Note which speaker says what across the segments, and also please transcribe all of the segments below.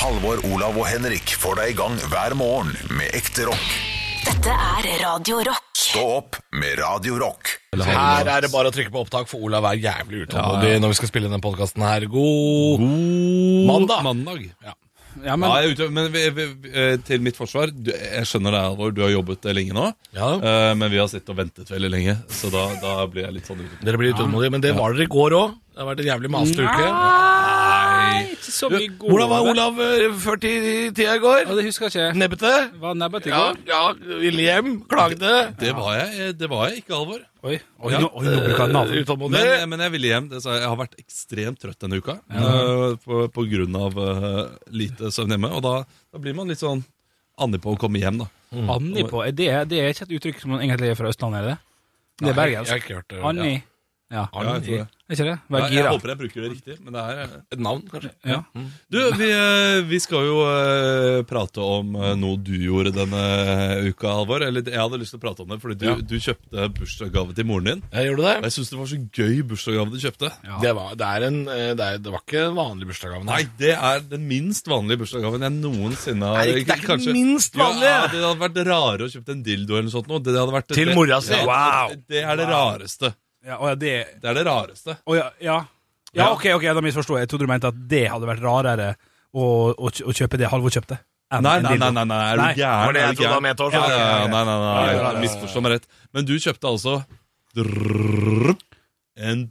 Speaker 1: Halvor, Olav og Henrik får deg i gang hver morgen med ekte rock.
Speaker 2: Dette er Radio Rock.
Speaker 1: Stå opp med Radio Rock.
Speaker 3: Her er det bare å trykke på opptak, for Olav er jævlig utålmodig når vi skal spille denne podkasten her. God mandag! Ja.
Speaker 4: Ja, men,
Speaker 5: Ja, jeg er ute, men vi, vi, vi- eh, til mitt forsvar, du, jeg skjønner det, Alvor, du har jobbet eh, lenge nå.
Speaker 3: Ja.
Speaker 5: Eh, men vi har sittet og ventet veldig lenge, så da, da blir jeg litt sånn ute.
Speaker 3: Dere blir utålmodige, men det var dere i går òg. Det har vært en jævlig masete uke.
Speaker 4: Nei, ikke så mye gode.
Speaker 3: Hvordan var Olav eh, før ti- tida i går?
Speaker 4: Ja, det husker jeg ikke.
Speaker 3: Nebbete?
Speaker 4: Var nebbet i
Speaker 3: Ja,
Speaker 4: går?
Speaker 3: ja, ville hjem. Klagde.
Speaker 5: Det var jeg, eh, det var jeg ikke, Alvor.
Speaker 4: Oi, oi,
Speaker 5: Ja.
Speaker 4: nå- oi, nå bruker jeg navn.
Speaker 3: Utålmodig.
Speaker 5: Men, eh, men jeg ville hjem. Det sa jeg, jeg har vært ekstremt trøtt denne uka eh, på, på grunn av eh, lite søvn hjemme. Og da, da blir man litt sånn andig på å komme hjem, da.
Speaker 4: Anni på, er det, det er ikke et uttrykk som egentlig er fra Østlandet, er det? det? Det er
Speaker 3: Jeg har
Speaker 4: bergensk.
Speaker 3: ikke hørt det.
Speaker 4: Anni. Ja,
Speaker 5: Ja, jeg tror det.
Speaker 4: er ikke det?
Speaker 5: Ja,
Speaker 4: Vær
Speaker 5: jeg
Speaker 4: gira.
Speaker 5: håper jeg bruker det riktig, men det er eh,
Speaker 3: Et navn, kanskje?
Speaker 4: Ja.
Speaker 5: Du, vi, eh, vi skal jo eh, prate om eh, noe du gjorde denne eh, uka, Halvor. Eller jeg hadde lyst til å prate om det, fordi du,
Speaker 3: Ja.
Speaker 5: du kjøpte bursdagsgave til moren din.
Speaker 3: Jeg gjorde
Speaker 5: Og
Speaker 3: det.
Speaker 5: jeg syns det var så gøy bursdagsgave du kjøpte.
Speaker 3: Det var, det, er en, eh, det, er, det var ikke en vanlig bursdagsgave.
Speaker 5: Nei, det er den minst vanlige bursdagsgaven jeg noensinne har
Speaker 3: Nei, det er ikke den
Speaker 5: kanskje-
Speaker 3: minst
Speaker 5: Jo,
Speaker 3: vanlige!
Speaker 5: Ja, det hadde vært rarere å kjøpe en dildo eller noe sånt. Noe. Det hadde vært,
Speaker 3: Til
Speaker 5: det-
Speaker 3: mora si.
Speaker 5: Ja,
Speaker 3: Wow.
Speaker 5: det, det er det rareste.
Speaker 4: Ja, å, ja, det
Speaker 5: Det er det rareste.
Speaker 4: å, ja, ja. ja, ok, ok, da misforsto jeg. Jeg trodde du mente at det hadde vært rarere å, å, å kjøpe det Halvor kjøpte. enn
Speaker 5: Nei,
Speaker 4: en
Speaker 5: nei,
Speaker 4: dildo.
Speaker 5: nei, nei, nei, er du
Speaker 4: Nei,
Speaker 5: gæren?
Speaker 3: var det jeg
Speaker 5: Er du
Speaker 3: trodde
Speaker 5: gæren?
Speaker 3: han mente også.
Speaker 5: Ja, ja, ja, nei, nei,
Speaker 3: Ja, ja,
Speaker 5: nei,
Speaker 3: ja, ja.
Speaker 5: nei misforstå meg rett. Men du kjøpte altså drrrr, en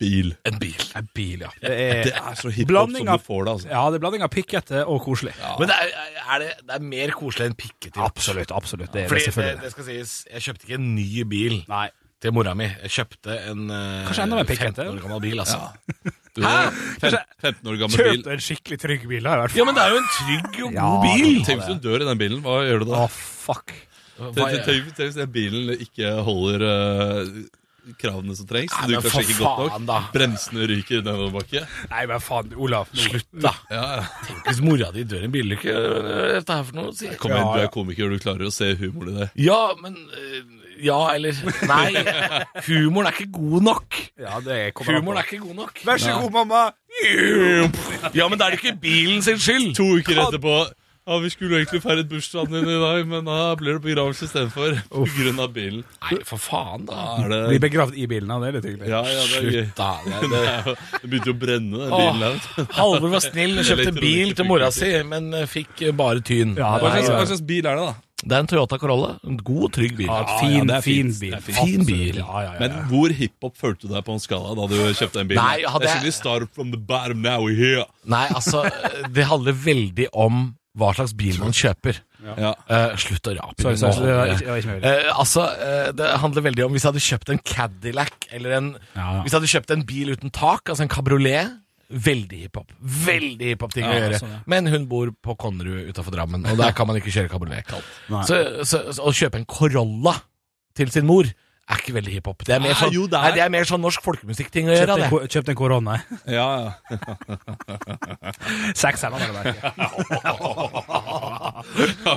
Speaker 5: bil.
Speaker 3: En bil.
Speaker 4: En bil, ja. Det
Speaker 5: Det
Speaker 4: er,
Speaker 5: er så hiphop
Speaker 4: Blanding
Speaker 5: som
Speaker 4: av-
Speaker 5: du får det, altså.
Speaker 4: ja, det er blanding av pikkete og koselig.
Speaker 3: Men det er, er det, det er mer koselig enn pikket.
Speaker 4: Absolutt, absolutt. Det er det
Speaker 3: Fordi det,
Speaker 4: selvfølgelig.
Speaker 3: det skal sies, jeg kjøpte ikke en ny bil
Speaker 4: Nei.
Speaker 3: til mora mi. Jeg kjøpte en eh,
Speaker 4: Kanskje enda mer pikkete.
Speaker 3: 15 år gammel bil, altså. Ja.
Speaker 5: Du, fem, 15 år gammel
Speaker 4: Kjøp
Speaker 5: bil.
Speaker 4: deg en skikkelig trygg bil, da, i hvert fall.
Speaker 3: men det er jo en trygg og
Speaker 4: Ja,
Speaker 3: god bil!
Speaker 5: Tenk hvis du dør i den bilen, hva gjør du da?
Speaker 4: Å, fuck.
Speaker 3: Hva
Speaker 5: Tenk
Speaker 3: er-
Speaker 5: tenk- tenk hvis den bilen ikke holder eh, kravene som trengs.
Speaker 3: Nei,
Speaker 5: Du
Speaker 3: men
Speaker 5: kan
Speaker 3: for
Speaker 5: sjekke godt
Speaker 3: faen,
Speaker 5: nok.
Speaker 3: da.
Speaker 5: Bremsene ryker i nedoverbakke.
Speaker 4: Nei, men faen, Olav.
Speaker 3: Slutt, da!
Speaker 5: Ja, ja.
Speaker 3: Tenk hvis mora di dør i en bilulykke. Hva er dette her for noe? sier jeg.
Speaker 5: Kom igjen,
Speaker 4: Ja,
Speaker 5: du
Speaker 4: ja.
Speaker 5: er komiker, du klarer å se humoren i det.
Speaker 3: Ja, men eh, Ja, eller Nei. Humoren er ikke god nok.
Speaker 4: Ja, det kommer an på.
Speaker 3: Humoren er ikke god nok.
Speaker 4: Vær så god, mamma.
Speaker 3: Ja, men det er jo ikke bilen sin skyld!
Speaker 5: To uker etterpå Ja, vi skulle jo egentlig feiret bursdagen din i dag, men da blir det begravelse istedenfor. På grunn av bilen.
Speaker 3: Nei, for faen, da.
Speaker 5: Da er
Speaker 4: Bli
Speaker 5: det
Speaker 4: begravd i bilen, ja, det er litt hyggelig.
Speaker 5: Ja, ja, det er gøy.
Speaker 3: Slutt, da. Det, er-
Speaker 5: Det er jo- det begynte jo å brenne, den bilen
Speaker 3: Åh,
Speaker 5: her.
Speaker 3: Halvor var snill og kjøpte bil til mora si, men eh, fikk eh, bare tyn.
Speaker 4: Ja,
Speaker 5: Hva
Speaker 4: det
Speaker 5: slags,
Speaker 4: er-
Speaker 5: hva slags bil er det, da?
Speaker 3: Det er en Toyota Corolla. En god, trygg bil.
Speaker 4: Ja, fin,
Speaker 5: det er
Speaker 4: fin
Speaker 5: fint.
Speaker 4: bil.
Speaker 5: Det er
Speaker 3: fint. Fin bil.
Speaker 4: Ja, ja, ja.
Speaker 5: Men hvor hiphop følte du deg på en skala da du kjøpte den bilen?
Speaker 3: Nei, hadde
Speaker 5: jeg
Speaker 3: jeg-
Speaker 5: skulle start from the bottom now we're here.
Speaker 3: Nei, altså, det handler veldig om hva slags bil man kjøper.
Speaker 5: Ja.
Speaker 3: Eh, slutt å rape.
Speaker 4: Sorry, sorry, sorry, det var ikke- det var ikke mulig.
Speaker 3: Eh, altså, eh, det handler veldig om hvis jeg hadde kjøpt en Cadillac, eller en,
Speaker 4: Ja, ja.
Speaker 3: hvis jeg hadde kjøpt en bil uten tak, altså en kabriolet. Veldig hiphop. Veldig hiphop ting å
Speaker 4: Ja,
Speaker 3: gjøre.
Speaker 4: sånn, ja.
Speaker 3: Men hun bor på Konnerud utafor Drammen, og der kan man ikke kjøre kabriolet.
Speaker 4: Nei.
Speaker 3: Så, så, så å kjøpe en Corolla til sin mor er ikke veldig hiphop. Det er mer
Speaker 5: Nei,
Speaker 3: sånn,
Speaker 5: jo, det er-
Speaker 3: Nei, det er mer sånn norsk folkemusikkting å gjøre.
Speaker 4: Kjøpte en,
Speaker 3: det.
Speaker 4: ko- kjøpte en korona.
Speaker 5: ja, ja.
Speaker 4: Seks eller noe der.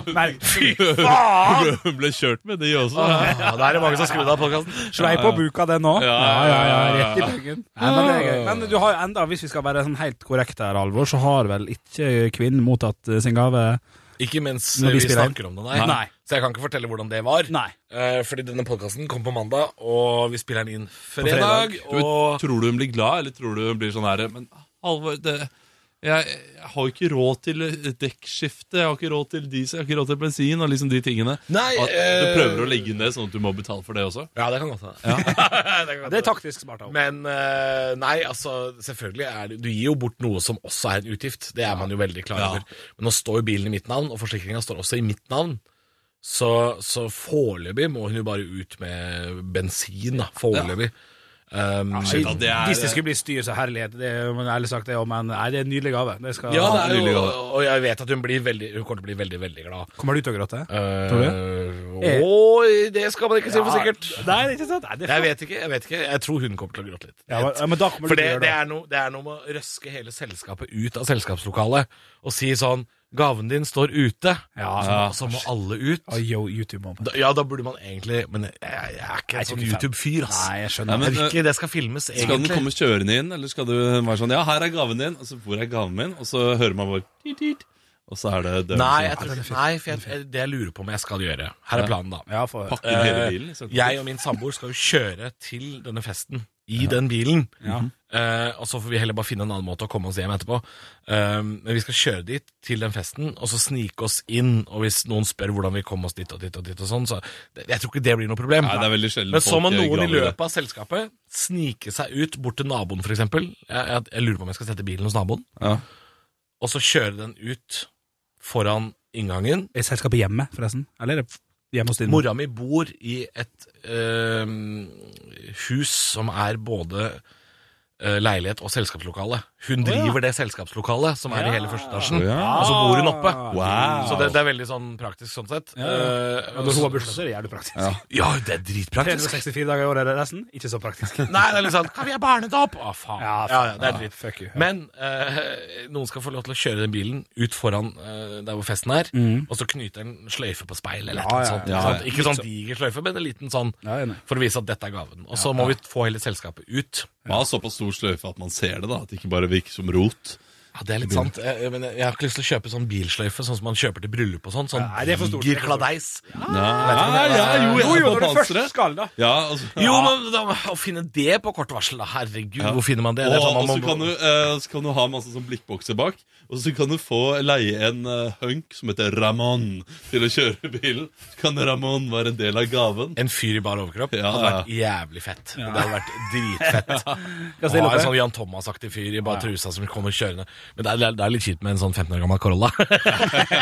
Speaker 4: Nei, fy
Speaker 5: Hun ble kjørt med, de også.
Speaker 3: Ja, da er det mange som skrur av podkasten.
Speaker 4: Svei på buka, det nå.
Speaker 5: ja, ja, ja.
Speaker 4: Rett i bøggen. Nei, Men, det er gøy. men du har jo enda, hvis vi skal være sånn helt korrekte her, Alvor, så har vel ikke kvinnen mottatt eh, sin gave?
Speaker 3: Ikke mens
Speaker 4: Når vi
Speaker 3: vi
Speaker 4: spiller
Speaker 3: snakker om det, nei.
Speaker 4: Nei.
Speaker 3: Så jeg kan ikke fortelle hvordan det var.
Speaker 4: Nei.
Speaker 3: Eh, fordi denne podkasten kom på mandag, og vi spiller den inn fredag.
Speaker 5: fredag.
Speaker 3: Og
Speaker 5: Tror du hun blir glad, eller tror du hun blir sånn her Men Halvor, det jeg, jeg har jo ikke råd til dekkskifte, jeg har ikke råd til diesel, jeg har ikke råd til bensin og liksom de tingene.
Speaker 3: Nei,
Speaker 5: at du
Speaker 3: eh,
Speaker 5: prøver å legge ned sånn at du må betale for det også?
Speaker 3: Ja, det kan godt hende.
Speaker 4: Det er taktisk smart av henne.
Speaker 3: Men eh, nei, altså selvfølgelig er det Du gir jo bort noe som også er en utgift. Det er man jo veldig klar
Speaker 5: Ja.
Speaker 3: over. Men nå står jo bilen i mitt navn, og forsikringa står også i mitt navn. Så, så foreløpig må hun jo bare ut med bensin, da. Foreløpig. Um,
Speaker 5: Shit, da, det er-
Speaker 4: Hvis det skulle bli styr, så herlighet. Det er jo men ærlig sagt, det òg, men nei, det er en nydelig gave. Det skal,
Speaker 3: ja, det er
Speaker 5: Nydelig
Speaker 3: jo,
Speaker 5: gave.
Speaker 3: og jeg vet at hun, blir veldig, hun kommer til å bli veldig, veldig glad.
Speaker 4: Kommer du til å gråte?
Speaker 3: Tror
Speaker 4: Tror Eh.
Speaker 3: det skal man ikke si for sikkert.
Speaker 4: Ja, Nei, det er ikke sant. Nei, det er
Speaker 3: Jeg vet ikke. Jeg vet ikke Jeg tror hun kommer til å gråte litt.
Speaker 4: Ja, men- ja, men da kommer
Speaker 3: For
Speaker 4: du
Speaker 3: det,
Speaker 4: til å gjøre
Speaker 3: det,
Speaker 4: det.
Speaker 3: er noe, det er noe med å røske hele selskapet ut av selskapslokalet og si sånn gaven din står ute, så,
Speaker 4: Ja.
Speaker 3: så må alle ut.
Speaker 4: Oi, yo, YouTube moment.
Speaker 3: Da, ja, da burde man egentlig Men jeg, jeg er ikke en sånn
Speaker 4: ikke fan.
Speaker 3: YouTube-fyr, ass.
Speaker 4: Nei, jeg
Speaker 5: Nei,
Speaker 4: skjønner.
Speaker 5: men-
Speaker 3: Det er virkelig, det skal filmes,
Speaker 5: Skal den
Speaker 3: egentlig.
Speaker 5: komme kjørende inn, eller skal du være sånn Ja, her er gaven din, og så hvor er gaven min? Og så hører man bare tit, tit, Og så er det døren
Speaker 3: Nei, jeg
Speaker 5: som
Speaker 3: tror, nei for jeg, jeg, det jeg lurer på om jeg skal gjøre Her er planen, da.
Speaker 4: Ja, for,
Speaker 5: pakker hele bilen. liksom. i stedet for-
Speaker 3: Eh, Jeg og min samboer skal jo kjøre til denne festen i den bilen.
Speaker 4: Ja.
Speaker 3: Eh, og så får vi heller bare finne en annen måte å komme oss hjem etterpå. Eh, men vi skal kjøre dit, til den festen, og så snike oss inn. Og hvis noen spør hvordan vi kom oss dit og dit og dit og sånn, så det, Jeg tror ikke det blir noe problem.
Speaker 5: Nei, det er veldig sjelden
Speaker 3: men så må
Speaker 5: folk,
Speaker 3: noen
Speaker 5: eh,
Speaker 3: i
Speaker 5: graver det.
Speaker 3: løpet av selskapet snike seg ut bort til naboen, f.eks. Jeg, jeg, jeg lurer på om jeg skal sette bilen hos naboen,
Speaker 5: ja.
Speaker 3: og så kjøre den ut foran inngangen.
Speaker 4: Er selskapet hjemme, forresten? Eller er det hjemme hos din
Speaker 3: Mora mi bor i et øhm, hus som er både øh, leilighet og selskapslokale. Hun driver det selskapslokalet som er i hele første etasjen,
Speaker 5: Å, ja.
Speaker 3: og så bor hun oppe.
Speaker 5: Wow.
Speaker 3: Så det, det er veldig sånn praktisk sånn sett. Ja,
Speaker 4: Ja, Når hun har bursdag, så er det jævlig praktisk.
Speaker 3: ja det er dritpraktisk.
Speaker 4: 364 dager i året er det resten. Ikke så praktisk.
Speaker 3: Nei, det er litt sånn Kan vi ha barnedåp? Å, faen.
Speaker 4: Ja,
Speaker 3: Ja, ja, det er
Speaker 4: ja,
Speaker 3: dritt.
Speaker 4: fuck you, ja.
Speaker 3: Men eh, noen skal få lov til å kjøre den bilen ut foran eh, der hvor festen er, og så knyte en sløyfe på speilet eller
Speaker 4: Mm. Ja,
Speaker 3: noe
Speaker 4: ja,
Speaker 3: sånt.
Speaker 5: ja.
Speaker 3: ikke sant? Ikke sånn diger sløyfe, men en liten sånn
Speaker 4: Ja, jeg er enig.
Speaker 3: for å vise at dette er gaven. Og så må vi få hele selskapet ut.
Speaker 5: Man har såpass stor sløyfe at man ser det, da. At det ikke bare virker som rot.
Speaker 3: Ja, det er litt sant. Jeg, jeg, men jeg har ikke lyst til å kjøpe sånn bilsløyfe, sånn som man kjøper til bryllup og sånn. Sånn
Speaker 4: Nei, det er for stort.
Speaker 3: diger kladeis.
Speaker 5: Ja, ja,
Speaker 3: Eh,
Speaker 5: jo, jeg er
Speaker 4: Jo, jo,
Speaker 5: på
Speaker 4: når du først
Speaker 5: panseret.
Speaker 4: skal, da.
Speaker 5: Ja, altså.
Speaker 3: Jo, men da, å finne det på kort varsel, da. Herregud, hvor finner man det? det er sånn
Speaker 5: Og
Speaker 3: man
Speaker 5: så
Speaker 3: må-
Speaker 5: kan, du, eh, så kan du ha masse sånn blikkbokser bak, og så kan du få leie en eh, hunk som heter Ramón, til å kjøre bilen. Så kan Ramón være en del av gaven.
Speaker 3: En fyr i bar overkropp
Speaker 5: Ja,
Speaker 3: hadde vært jævlig fett. Det hadde vært dritfett. Å ha en sånn Jan Thomas-aktig fyr i bare trusa som kommer kjørende. Men det er, det er litt kjipt med en sånn 15 år gammel Corolla.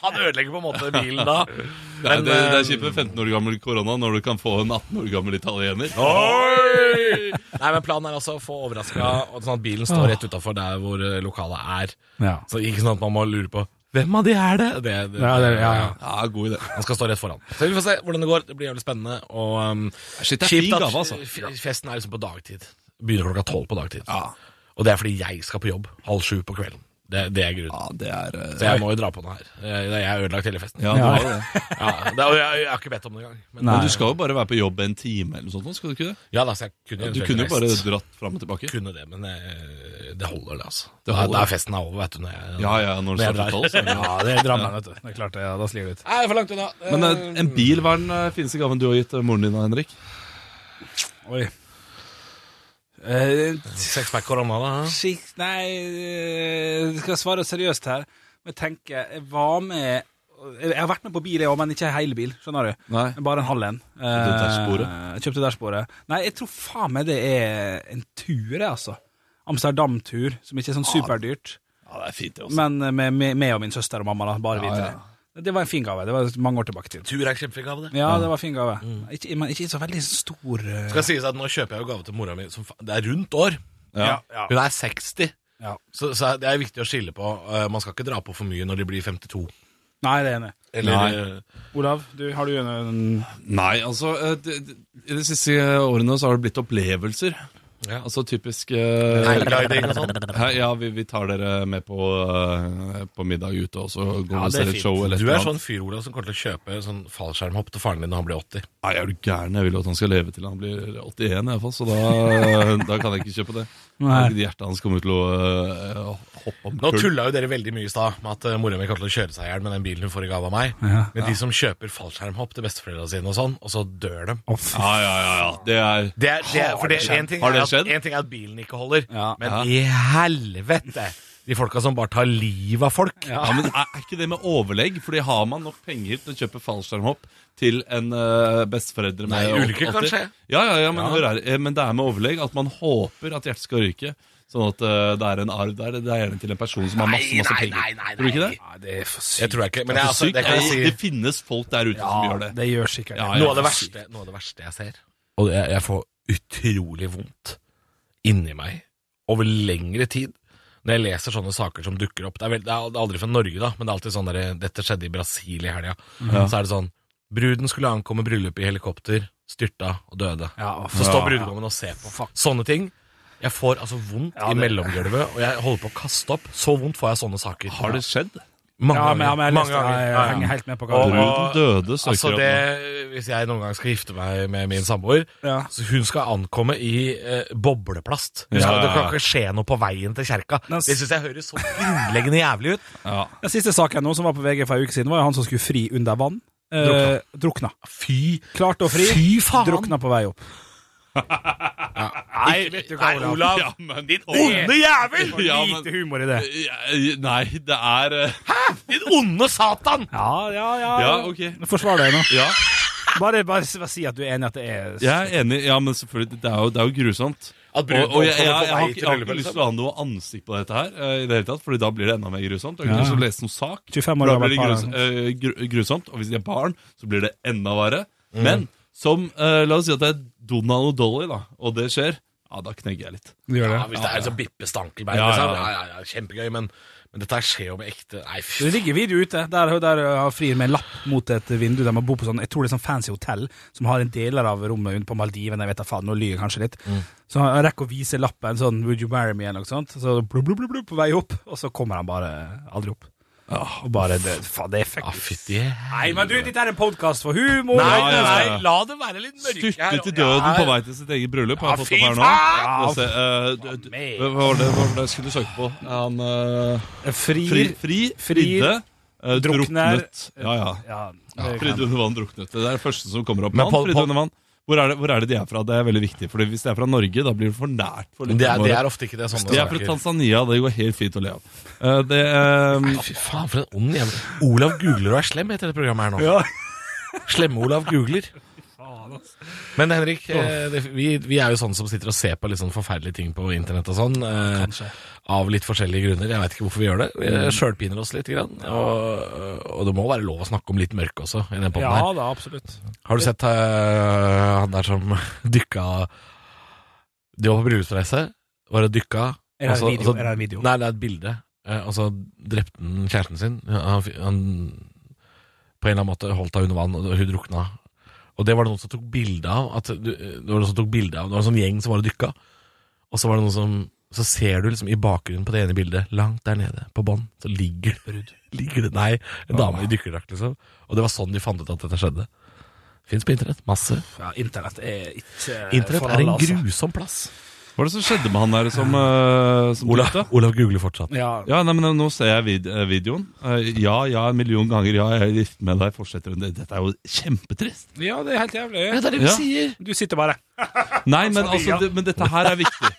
Speaker 3: Han ødelegger på en måte bilen da.
Speaker 5: Nei,
Speaker 3: Men,
Speaker 5: det, det er
Speaker 3: eh,
Speaker 5: kjipt med 15 år gammel korona når du kan få en 18 år gammel italiener.
Speaker 3: Oi! Nei, men planen er altså å få overraska, og sånn at bilen står rett utafor der hvor eh, lokalet er.
Speaker 4: Ja.
Speaker 3: Så ikke sånn at man må lure på hvem av de er det? det, det
Speaker 4: Ja, det- ja, ja.
Speaker 5: Ja, god idé.
Speaker 3: Han skal stå rett foran. Så vi får se hvordan det går. Det blir jævlig spennende. Og um,
Speaker 5: Shit, det er fin gave, altså.
Speaker 3: f- festen er liksom på dagtid. Begynner klokka tolv på dagtid. Og det er fordi jeg skal på jobb halv sju på kvelden. Det, det er grunnen.
Speaker 5: Ja, det er eh,
Speaker 3: Så jeg må jo dra på den her. Jeg, jeg har ødelagt hele festen.
Speaker 5: ja, du har jo det.
Speaker 3: Ja, det, og jeg, jeg har ikke bedt om det engang. Men
Speaker 5: Men du skal jo bare være på jobb en time eller noe sånt, skal du ikke det?
Speaker 3: ja, da, så jeg kunne
Speaker 5: Du
Speaker 3: eventuelt
Speaker 5: kunne jo bare
Speaker 3: reist.
Speaker 5: dratt fram og tilbake.
Speaker 3: kunne det, men eh, det holder, det, altså.
Speaker 5: Det holder.
Speaker 3: Da, da er festen er over, vet du. Når jeg,
Speaker 5: Ja, ja, når du
Speaker 3: jeg
Speaker 5: starter
Speaker 3: drar.
Speaker 5: tolv, så er det
Speaker 4: Ja, det er Drammen, vet du. Det er klart det, ja, da slir det ut.
Speaker 3: Nei, for langt unna.
Speaker 5: Men eh, en bil, hva er den eh, fineste gaven du har gitt eh, moren din, Henrik?
Speaker 4: Oi. Eh,
Speaker 3: Sexpack korona, da? hæ?
Speaker 4: Skikk, nei, eh, skal jeg svare seriøst her? Men jeg tenker, jeg var med Jeg har vært med på bil, jeg òg, men ikke hele bil. Skjønner du?
Speaker 5: Nei.
Speaker 4: Bare en halv en.
Speaker 5: Kjøpte dashbordet?
Speaker 4: Eh, jeg Kjøpte dashbordet. Nei, jeg tror faen meg det er en tur, jeg, altså. Amsterdam-tur, som ikke er sånn superdyrt.
Speaker 5: Ja, det altså. er fint, det
Speaker 4: Men med, med, med og min søster og mamma, da. Bare vi tre. Det var en fin gave. Det var mange år tilbake til.
Speaker 3: Tur er en kjempefin gave, det.
Speaker 4: Ja, det var en fin gave. Ikke, men ikke så veldig stor eh,
Speaker 3: Skal sies at Nå kjøper jeg jo gave til mora mi. Som, fa- det er rundt år.
Speaker 5: Ja.
Speaker 3: Hun er 60.
Speaker 4: Ja.
Speaker 3: Så, så det er viktig å skille på. Eh, man skal ikke dra på for mye når de blir 52.
Speaker 4: Nei, det er enig.
Speaker 3: Eller
Speaker 5: Nei.
Speaker 3: eh,
Speaker 4: Olav, du, har du en, en
Speaker 5: Nei, altså eh, det- det- I de siste årene så har det blitt opplevelser.
Speaker 3: Ja.
Speaker 5: Altså typisk eh,
Speaker 3: paragliding og sånn.
Speaker 5: Hæ, Ja, vi, vi tar dere med på, eh, på middag ute, og så går vi
Speaker 3: Ja,
Speaker 5: og
Speaker 3: det
Speaker 5: ser
Speaker 3: er
Speaker 5: et show. Eller
Speaker 3: fint. Du
Speaker 5: et
Speaker 3: er
Speaker 5: eller
Speaker 3: sånn
Speaker 5: annet.
Speaker 3: fyr Olav, som kommer til å kjøpe sånn fallskjermhopp til faren din når han blir 80.
Speaker 5: Nei, er du gæren? Jeg vil jo at han skal leve til han blir 81, iallfall. Så da, da kan jeg ikke kjøpe det.
Speaker 4: Nei.
Speaker 5: Hjertet hans kommer til å eh, hoppe om
Speaker 3: Nå
Speaker 5: kull.
Speaker 3: tulla jo dere veldig mye i stad med at eh, mora mi kommer til å kjøre seg i hjel med den bilen hun får i gave av meg.
Speaker 4: Ja.
Speaker 3: Men de som kjøper fallskjermhopp til besteforeldra sine og sånn, og så dør de.
Speaker 4: Å, fy
Speaker 5: Ja, ja, ja. ja. Det er
Speaker 3: Det er, det, er- for det, en, ting
Speaker 5: Har
Speaker 3: er
Speaker 5: det
Speaker 3: at,
Speaker 5: skjedd?
Speaker 3: en ting er at bilen ikke holder,
Speaker 4: Ja.
Speaker 3: men i helvete! De folka som bare tar livet av folk.
Speaker 5: Ja, men er, er ikke det med overlegg? Fordi har man nok penger til å kjøpe fallskjermhopp til en uh, besteforeldre med
Speaker 3: Nei, ulykker kan
Speaker 5: 80?
Speaker 3: skje.
Speaker 5: Ja, ja, ja, men, Hør her, eh, men det er med overlegg at man håper at hjertet skal ryke. Sånn at eh, det er en arv der. Det er gjerne til en person som har masse, masse
Speaker 3: nei,
Speaker 5: penger.
Speaker 3: nei, nei,
Speaker 5: Tror du ikke det?
Speaker 4: Ja, det er for
Speaker 3: Jeg
Speaker 4: sykt.
Speaker 3: tror jeg ikke, men
Speaker 5: Det
Speaker 3: jeg,
Speaker 5: er
Speaker 3: altså,
Speaker 5: sykt.
Speaker 3: det kan jeg si.
Speaker 5: det finnes folk der ute som gjør det.
Speaker 4: det gjør sikkert
Speaker 5: Ja, ja.
Speaker 3: Noe av det verste, noe av det verste jeg ser Og jeg, jeg får utrolig vondt Inni meg Over lengre tid Når jeg leser sånne saker som dukker opp Det er, vel, det er al- det er aldri fra Norge da Men det er alltid sånn der Dette skjedde i Brasil i helga Så er det sånn Bruden skulle ankomme bryllup i helikopter Styrta og døde
Speaker 4: Ja, å,
Speaker 3: Så står
Speaker 4: ja.
Speaker 3: brudgommen og ser på Sånne ting Jeg får altså vondt
Speaker 4: Ja,
Speaker 3: i
Speaker 4: det-
Speaker 3: mellomgulvet Og jeg holder på å kaste opp Så vondt får jeg sånne saker
Speaker 5: Har det skjedd?
Speaker 3: Mange
Speaker 4: Ja, men, ja, men jeg,
Speaker 3: Mange
Speaker 4: leste,
Speaker 3: ganger.
Speaker 4: jeg,
Speaker 3: Ja, ja.
Speaker 4: henger helt med på hva
Speaker 3: Og-
Speaker 4: du
Speaker 5: Bruden døde, søker
Speaker 3: Altså
Speaker 5: opp
Speaker 3: det,
Speaker 5: nå.
Speaker 3: Hvis jeg noen gang skal gifte meg med min samboer
Speaker 4: Ja.
Speaker 3: så Hun skal ankomme i eh, bobleplast. Hun skal,
Speaker 5: Ja.
Speaker 3: Det kan ikke skje noe på veien til kjerka.
Speaker 4: Den s-
Speaker 3: Det syns jeg høres så grunnleggende jævlig ut.
Speaker 4: Den siste saken nå, som var på VG for en uke siden, var jo han som skulle fri under vann. Eh, drukna.
Speaker 3: Fy
Speaker 4: Klarte å fri.
Speaker 3: Fy faen!
Speaker 4: Drukna på vei opp.
Speaker 3: Nei, nei, Olav!
Speaker 5: Ja, men,
Speaker 3: Onde jævel!
Speaker 5: Ja, men-
Speaker 4: Lite humor i det.
Speaker 5: Ja, eh, Nei, det er eh,
Speaker 3: Din onde satan!
Speaker 4: Ja, ja, ja.
Speaker 5: Ja, ok.
Speaker 4: Forsvar deg nå.
Speaker 5: Ja,
Speaker 4: Bare, bare s- si at du er enig i at det er
Speaker 5: jeg er enig. Ja, men selvfølgelig, det er jo, det er jo grusomt.
Speaker 3: At
Speaker 5: Og, og jeg, jeg, jeg,
Speaker 3: på
Speaker 5: har
Speaker 3: vei
Speaker 5: ikke, jeg
Speaker 3: til
Speaker 5: har ikke lyst til
Speaker 3: bryllupet.
Speaker 5: å ha noe ansikt på dette her, eh, i det hele tatt, Fordi da blir det enda mer grusomt. Jeg har ikke
Speaker 4: Ja.
Speaker 5: lyst til å lese noen sak.
Speaker 4: 25
Speaker 5: For
Speaker 4: år
Speaker 5: da blir
Speaker 4: gammelt
Speaker 5: det
Speaker 4: par.
Speaker 5: grus, eh, gru- grusomt. Og hvis de er barn, så blir det enda verre.
Speaker 3: Mm.
Speaker 5: Men som eh, La oss si at det er Donald og Dolly, da, og det skjer. Ja, da knegger jeg litt.
Speaker 4: Gjør
Speaker 3: Ja,
Speaker 4: det.
Speaker 3: hvis det er så bippe stankelbein,
Speaker 5: Ja, ja,
Speaker 3: liksom.
Speaker 5: ja.
Speaker 3: Ja, ja, ja, kjempegøy, men, men dette her skjer jo med ekte Nei, fy
Speaker 4: Det ligger video ute. Der, der har frir med en lapp mot et vindu. Der man bor på sånn, jeg tror det er sånn fancy hotell som har en deler av rommet rundt på Maldivene. Jeg vet da faen, nå lyver jeg kanskje litt.
Speaker 3: Mm.
Speaker 4: Så han rekker å vise lappen sånn 'Would you marry me?' eller noe sånt. Så blub, blub, blub, blub, på vei opp, og så kommer han bare aldri opp. Og bare det, Faen, det er
Speaker 3: Ja,
Speaker 4: fuckings
Speaker 3: Ah, fytti
Speaker 4: Nei, men du, dette er en podkast for humor!
Speaker 3: Nei,
Speaker 5: ja, ja, ja.
Speaker 3: nei, la det være litt mørke
Speaker 5: Styrtet til døden på vei til sitt eget bryllup. Har
Speaker 3: Ja,
Speaker 5: jeg fått
Speaker 3: fy
Speaker 5: opp her nå.
Speaker 3: faen!
Speaker 5: Få se, eh, d- d-
Speaker 4: meg.
Speaker 5: Hva var det, hva var det jeg skulle søke på? Han eh,
Speaker 4: Frir
Speaker 5: Fri, fri,
Speaker 4: Frir.
Speaker 5: fridde, eh,
Speaker 4: Drukner.
Speaker 5: druknet Ja, ja.
Speaker 4: Ja, det
Speaker 5: Fridde
Speaker 4: kan-
Speaker 5: under vann, druknet. Det er det første som kommer opp.
Speaker 3: Men
Speaker 5: mann,
Speaker 3: Pål-
Speaker 5: Fridde
Speaker 3: Pål-
Speaker 5: under vann. Hvor er, det, hvor er det de er fra? Det er veldig viktig. Fordi Hvis det er fra Norge, da blir det for nært. For
Speaker 3: Det er, det
Speaker 5: lytterne
Speaker 3: er ofte ikke det sånne
Speaker 5: våre. de er fra Tanzania. Det går helt fint å le av. Eh, det,
Speaker 3: Ja, Fy faen, for en ond jævel. Olav googler og er slem etter dette programmet her nå.
Speaker 4: Ja.
Speaker 3: Slemme-Olav googler. Men Henrik, eh, det, vi, vi er jo sånne som sitter og ser på litt sånn forferdelige ting på internett og sånn. Eh, av litt forskjellige grunner. Jeg veit ikke hvorfor vi gjør det. Vi
Speaker 4: Mm.
Speaker 3: sjølpiner oss litt. Grann, og, og det må være lov å snakke om litt mørke også i den potten
Speaker 4: ja
Speaker 3: her.
Speaker 4: da, absolutt.
Speaker 3: Har du sett eh, han der som dykka Du var på bryllupsreise, var og dykka
Speaker 4: Er det
Speaker 3: og så-
Speaker 4: en video?
Speaker 3: og så-
Speaker 4: Er det en video?
Speaker 3: Altså, Nei, det er et bilde. Eh, Og så drepte han kjæresten sin. Han, han på en eller annen måte holdt henne under vann, og hun drukna. Og det var det noen som tok bilde av. At, du- eh, det var noen som tok bilde av Det var en sånn gjeng som var og dykka. Og så var det noen som Så ser du liksom i bakgrunnen på det ene bildet, langt der nede, på bånn, så ligger det brud. Ligger det Nei, en dame i dykkerdrakt, liksom. Og det var sånn de fant ut at dette skjedde. Fins på internett. Masse.
Speaker 4: Ja, internett er ikke
Speaker 3: Internett
Speaker 4: Eh, for
Speaker 3: er
Speaker 4: alle,
Speaker 3: en
Speaker 4: altså.
Speaker 3: grusom plass.
Speaker 5: hva var det som skjedde med han der som, eh, som
Speaker 3: Olav,
Speaker 5: drukte?
Speaker 3: Olav googler fortsatt.
Speaker 4: Ja,
Speaker 5: Ja, nei, men Nå ser jeg vid eh, videoen. Eh, ja, ja, en million ganger. Ja, jeg er gift med deg. Fortsetter hun. Dette er jo kjempetrist.
Speaker 4: ja, det er helt jævlig.
Speaker 3: Ja, det er det vi
Speaker 5: Ja.
Speaker 3: sier!
Speaker 4: Du sitter bare
Speaker 5: Nei, men, altså, det, men dette her er viktig.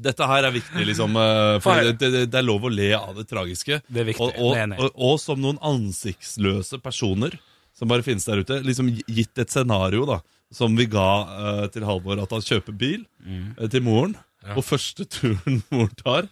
Speaker 5: Dette her er viktig, liksom. eh, For det, det, det er lov å le av det tragiske.
Speaker 4: Det er viktig,
Speaker 5: Og, og,
Speaker 4: det er enig.
Speaker 5: og, og som noen ansiktsløse personer som bare finnes der ute, liksom gitt et scenario da, som vi ga eh, til Halvor, at han kjøper bil
Speaker 4: Mm.
Speaker 5: eh, til moren, og første turen mor tar,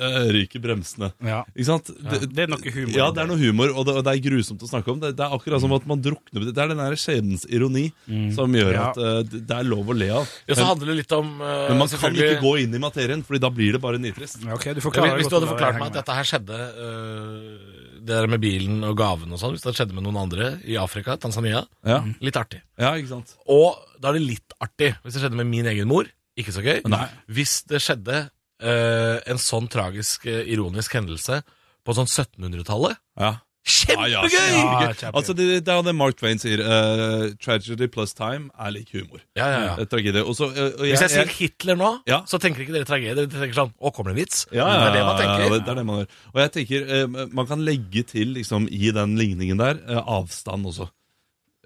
Speaker 5: eh, ryker bremsene.
Speaker 4: Ja.
Speaker 5: Ikke sant? Det,
Speaker 4: det er noe humor i
Speaker 5: Ja,
Speaker 4: det.
Speaker 5: det er noe humor, og det, og det er grusomt å snakke om. Det, det er akkurat som at man drukner Det er den der skjebnens ironi som gjør
Speaker 4: Ja.
Speaker 5: at eh, det det er lov å le av.
Speaker 3: Ja, så handler det litt om eh,
Speaker 5: Men man kan
Speaker 3: selvfølgelig-
Speaker 5: ikke gå inn i materien, Fordi da blir det bare nitrist.
Speaker 4: Ok,
Speaker 3: Ja,
Speaker 4: du forklarer
Speaker 3: hvis, hvis
Speaker 4: godt
Speaker 3: du hadde
Speaker 4: hva det
Speaker 3: forklart
Speaker 4: henger
Speaker 3: meg at
Speaker 4: med.
Speaker 3: dette her skjedde øh, Det der med bilen og gaven og sånn Hvis det skjedde med noen andre i Afrika, Tanzania
Speaker 5: Ja,
Speaker 3: Litt artig
Speaker 5: Mm. ja ikke sant?
Speaker 3: Og da er det litt artig Hvis det skjedde med min egen mor Ikke så gøy Hvis det skjedde øh, en sånn tragisk, øh, ironisk hendelse På sånn 1700-tallet
Speaker 5: Ja. Ja, ja,
Speaker 3: Kjempegøy!
Speaker 5: ja,
Speaker 4: Ja,
Speaker 5: kjempegøy. altså, det, det er jo det Mark Twain sier. eh, 'Tragedy plus time er lik humor'.
Speaker 3: Ja, ja,
Speaker 5: Eh,
Speaker 3: ja
Speaker 5: Tragedie. Og så eh, og
Speaker 3: Hvis jeg sier Hitler nå
Speaker 5: Ja.
Speaker 3: Så tenker ikke dere tragedie Dere tenker sånn Å, kommer det en vits?
Speaker 5: ja,
Speaker 3: Det er det man
Speaker 5: ja,
Speaker 3: tenker
Speaker 5: det er det man gjør. Og jeg tenker eh, man kan legge til liksom, i den ligningen der eh, avstand også.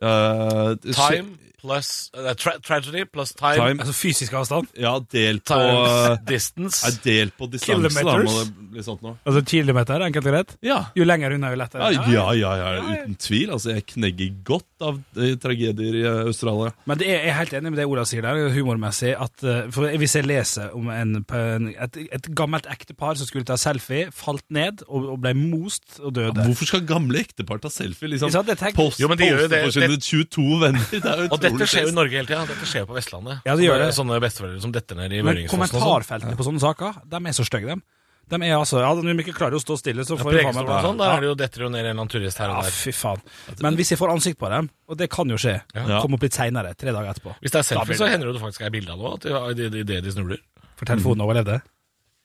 Speaker 5: Eh, det skje-
Speaker 3: Time plus eh, tra Tragedy plus time,
Speaker 5: Time.
Speaker 4: Altså fysisk avstand?
Speaker 5: Ja, del på
Speaker 3: Times
Speaker 5: eh,
Speaker 3: distance
Speaker 5: ja, Del på distanse, da. Må
Speaker 4: Kilometers.
Speaker 5: det bli sånt nå.
Speaker 4: Altså kilometer, enkelt og greit?
Speaker 5: Ja.
Speaker 4: Jo lenger unna, jo lettere.
Speaker 5: Ja, ja, ja, ja, uten tvil. Altså, jeg knegger godt av eh, tragedier i eh, Australia.
Speaker 4: Men det er, jeg er helt enig med det Olav sier der, humormessig. At, eh, for Hvis jeg leser om en, på en, et, et gammelt ektepar som skulle ta selfie, falt ned og, og ble most og døde.
Speaker 5: Hvorfor skal gamle ektepar ta selfie? Liksom,
Speaker 4: Ikke sant? Jeg tenker-
Speaker 5: post,
Speaker 3: Jo, men de gjør jo
Speaker 5: poste
Speaker 3: det.
Speaker 5: for sine 22 venner. Det er jo
Speaker 3: Og dette
Speaker 5: utrolig
Speaker 3: skjer jo i
Speaker 5: trist.
Speaker 3: Norge hele tida. Dette skjer jo på Vestlandet.
Speaker 4: Ja, det gjør det.
Speaker 3: Sånne besteforeldre som detter ned i
Speaker 4: Men
Speaker 3: Vøringsfossen. og sånn.
Speaker 4: kommentarfeltene på sånne saker, de er så stygge, dem. De er altså Ja, når vi ikke klarer å stå stille, så
Speaker 3: Ja,
Speaker 4: får vi faen
Speaker 3: Preikestolen
Speaker 4: meg
Speaker 3: og sånn, der er det jo detter jo ned en eller annen turist her
Speaker 4: Ja,
Speaker 3: og der.
Speaker 4: fy faen. Men hvis jeg får ansikt på dem, og det kan jo skje,
Speaker 5: Ja.
Speaker 4: kom opp litt seinere, tre dager etterpå.
Speaker 3: Hvis det er
Speaker 4: Da blir
Speaker 3: selfie,
Speaker 4: det-
Speaker 3: så hender det jo det faktisk er bilde av det òg, idet de snubler.
Speaker 4: For telefonen overlevde.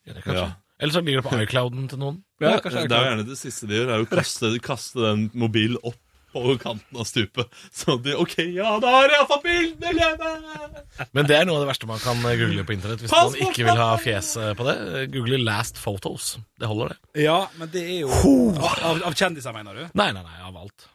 Speaker 3: Ja, det kanskje.
Speaker 5: Ja.
Speaker 3: Eller så ligger det på iClouden til noen.
Speaker 5: Ja, det er jo gjerne det siste de gjør, er jo å kaste, kaste den mobilen opp på kanten av stupet. Så de OK, ja, da har jeg iallfall bildene levende!
Speaker 3: Men det er noe av det verste man kan eh, google på internett hvis
Speaker 5: Pass
Speaker 3: man
Speaker 5: på
Speaker 3: ikke vil ha fjes eh, på det. Google 'last photos'. Det holder, det.
Speaker 4: Ja, men det er jo Av, av kjendiser, mener du?
Speaker 3: Nei, nei, nei, av alt.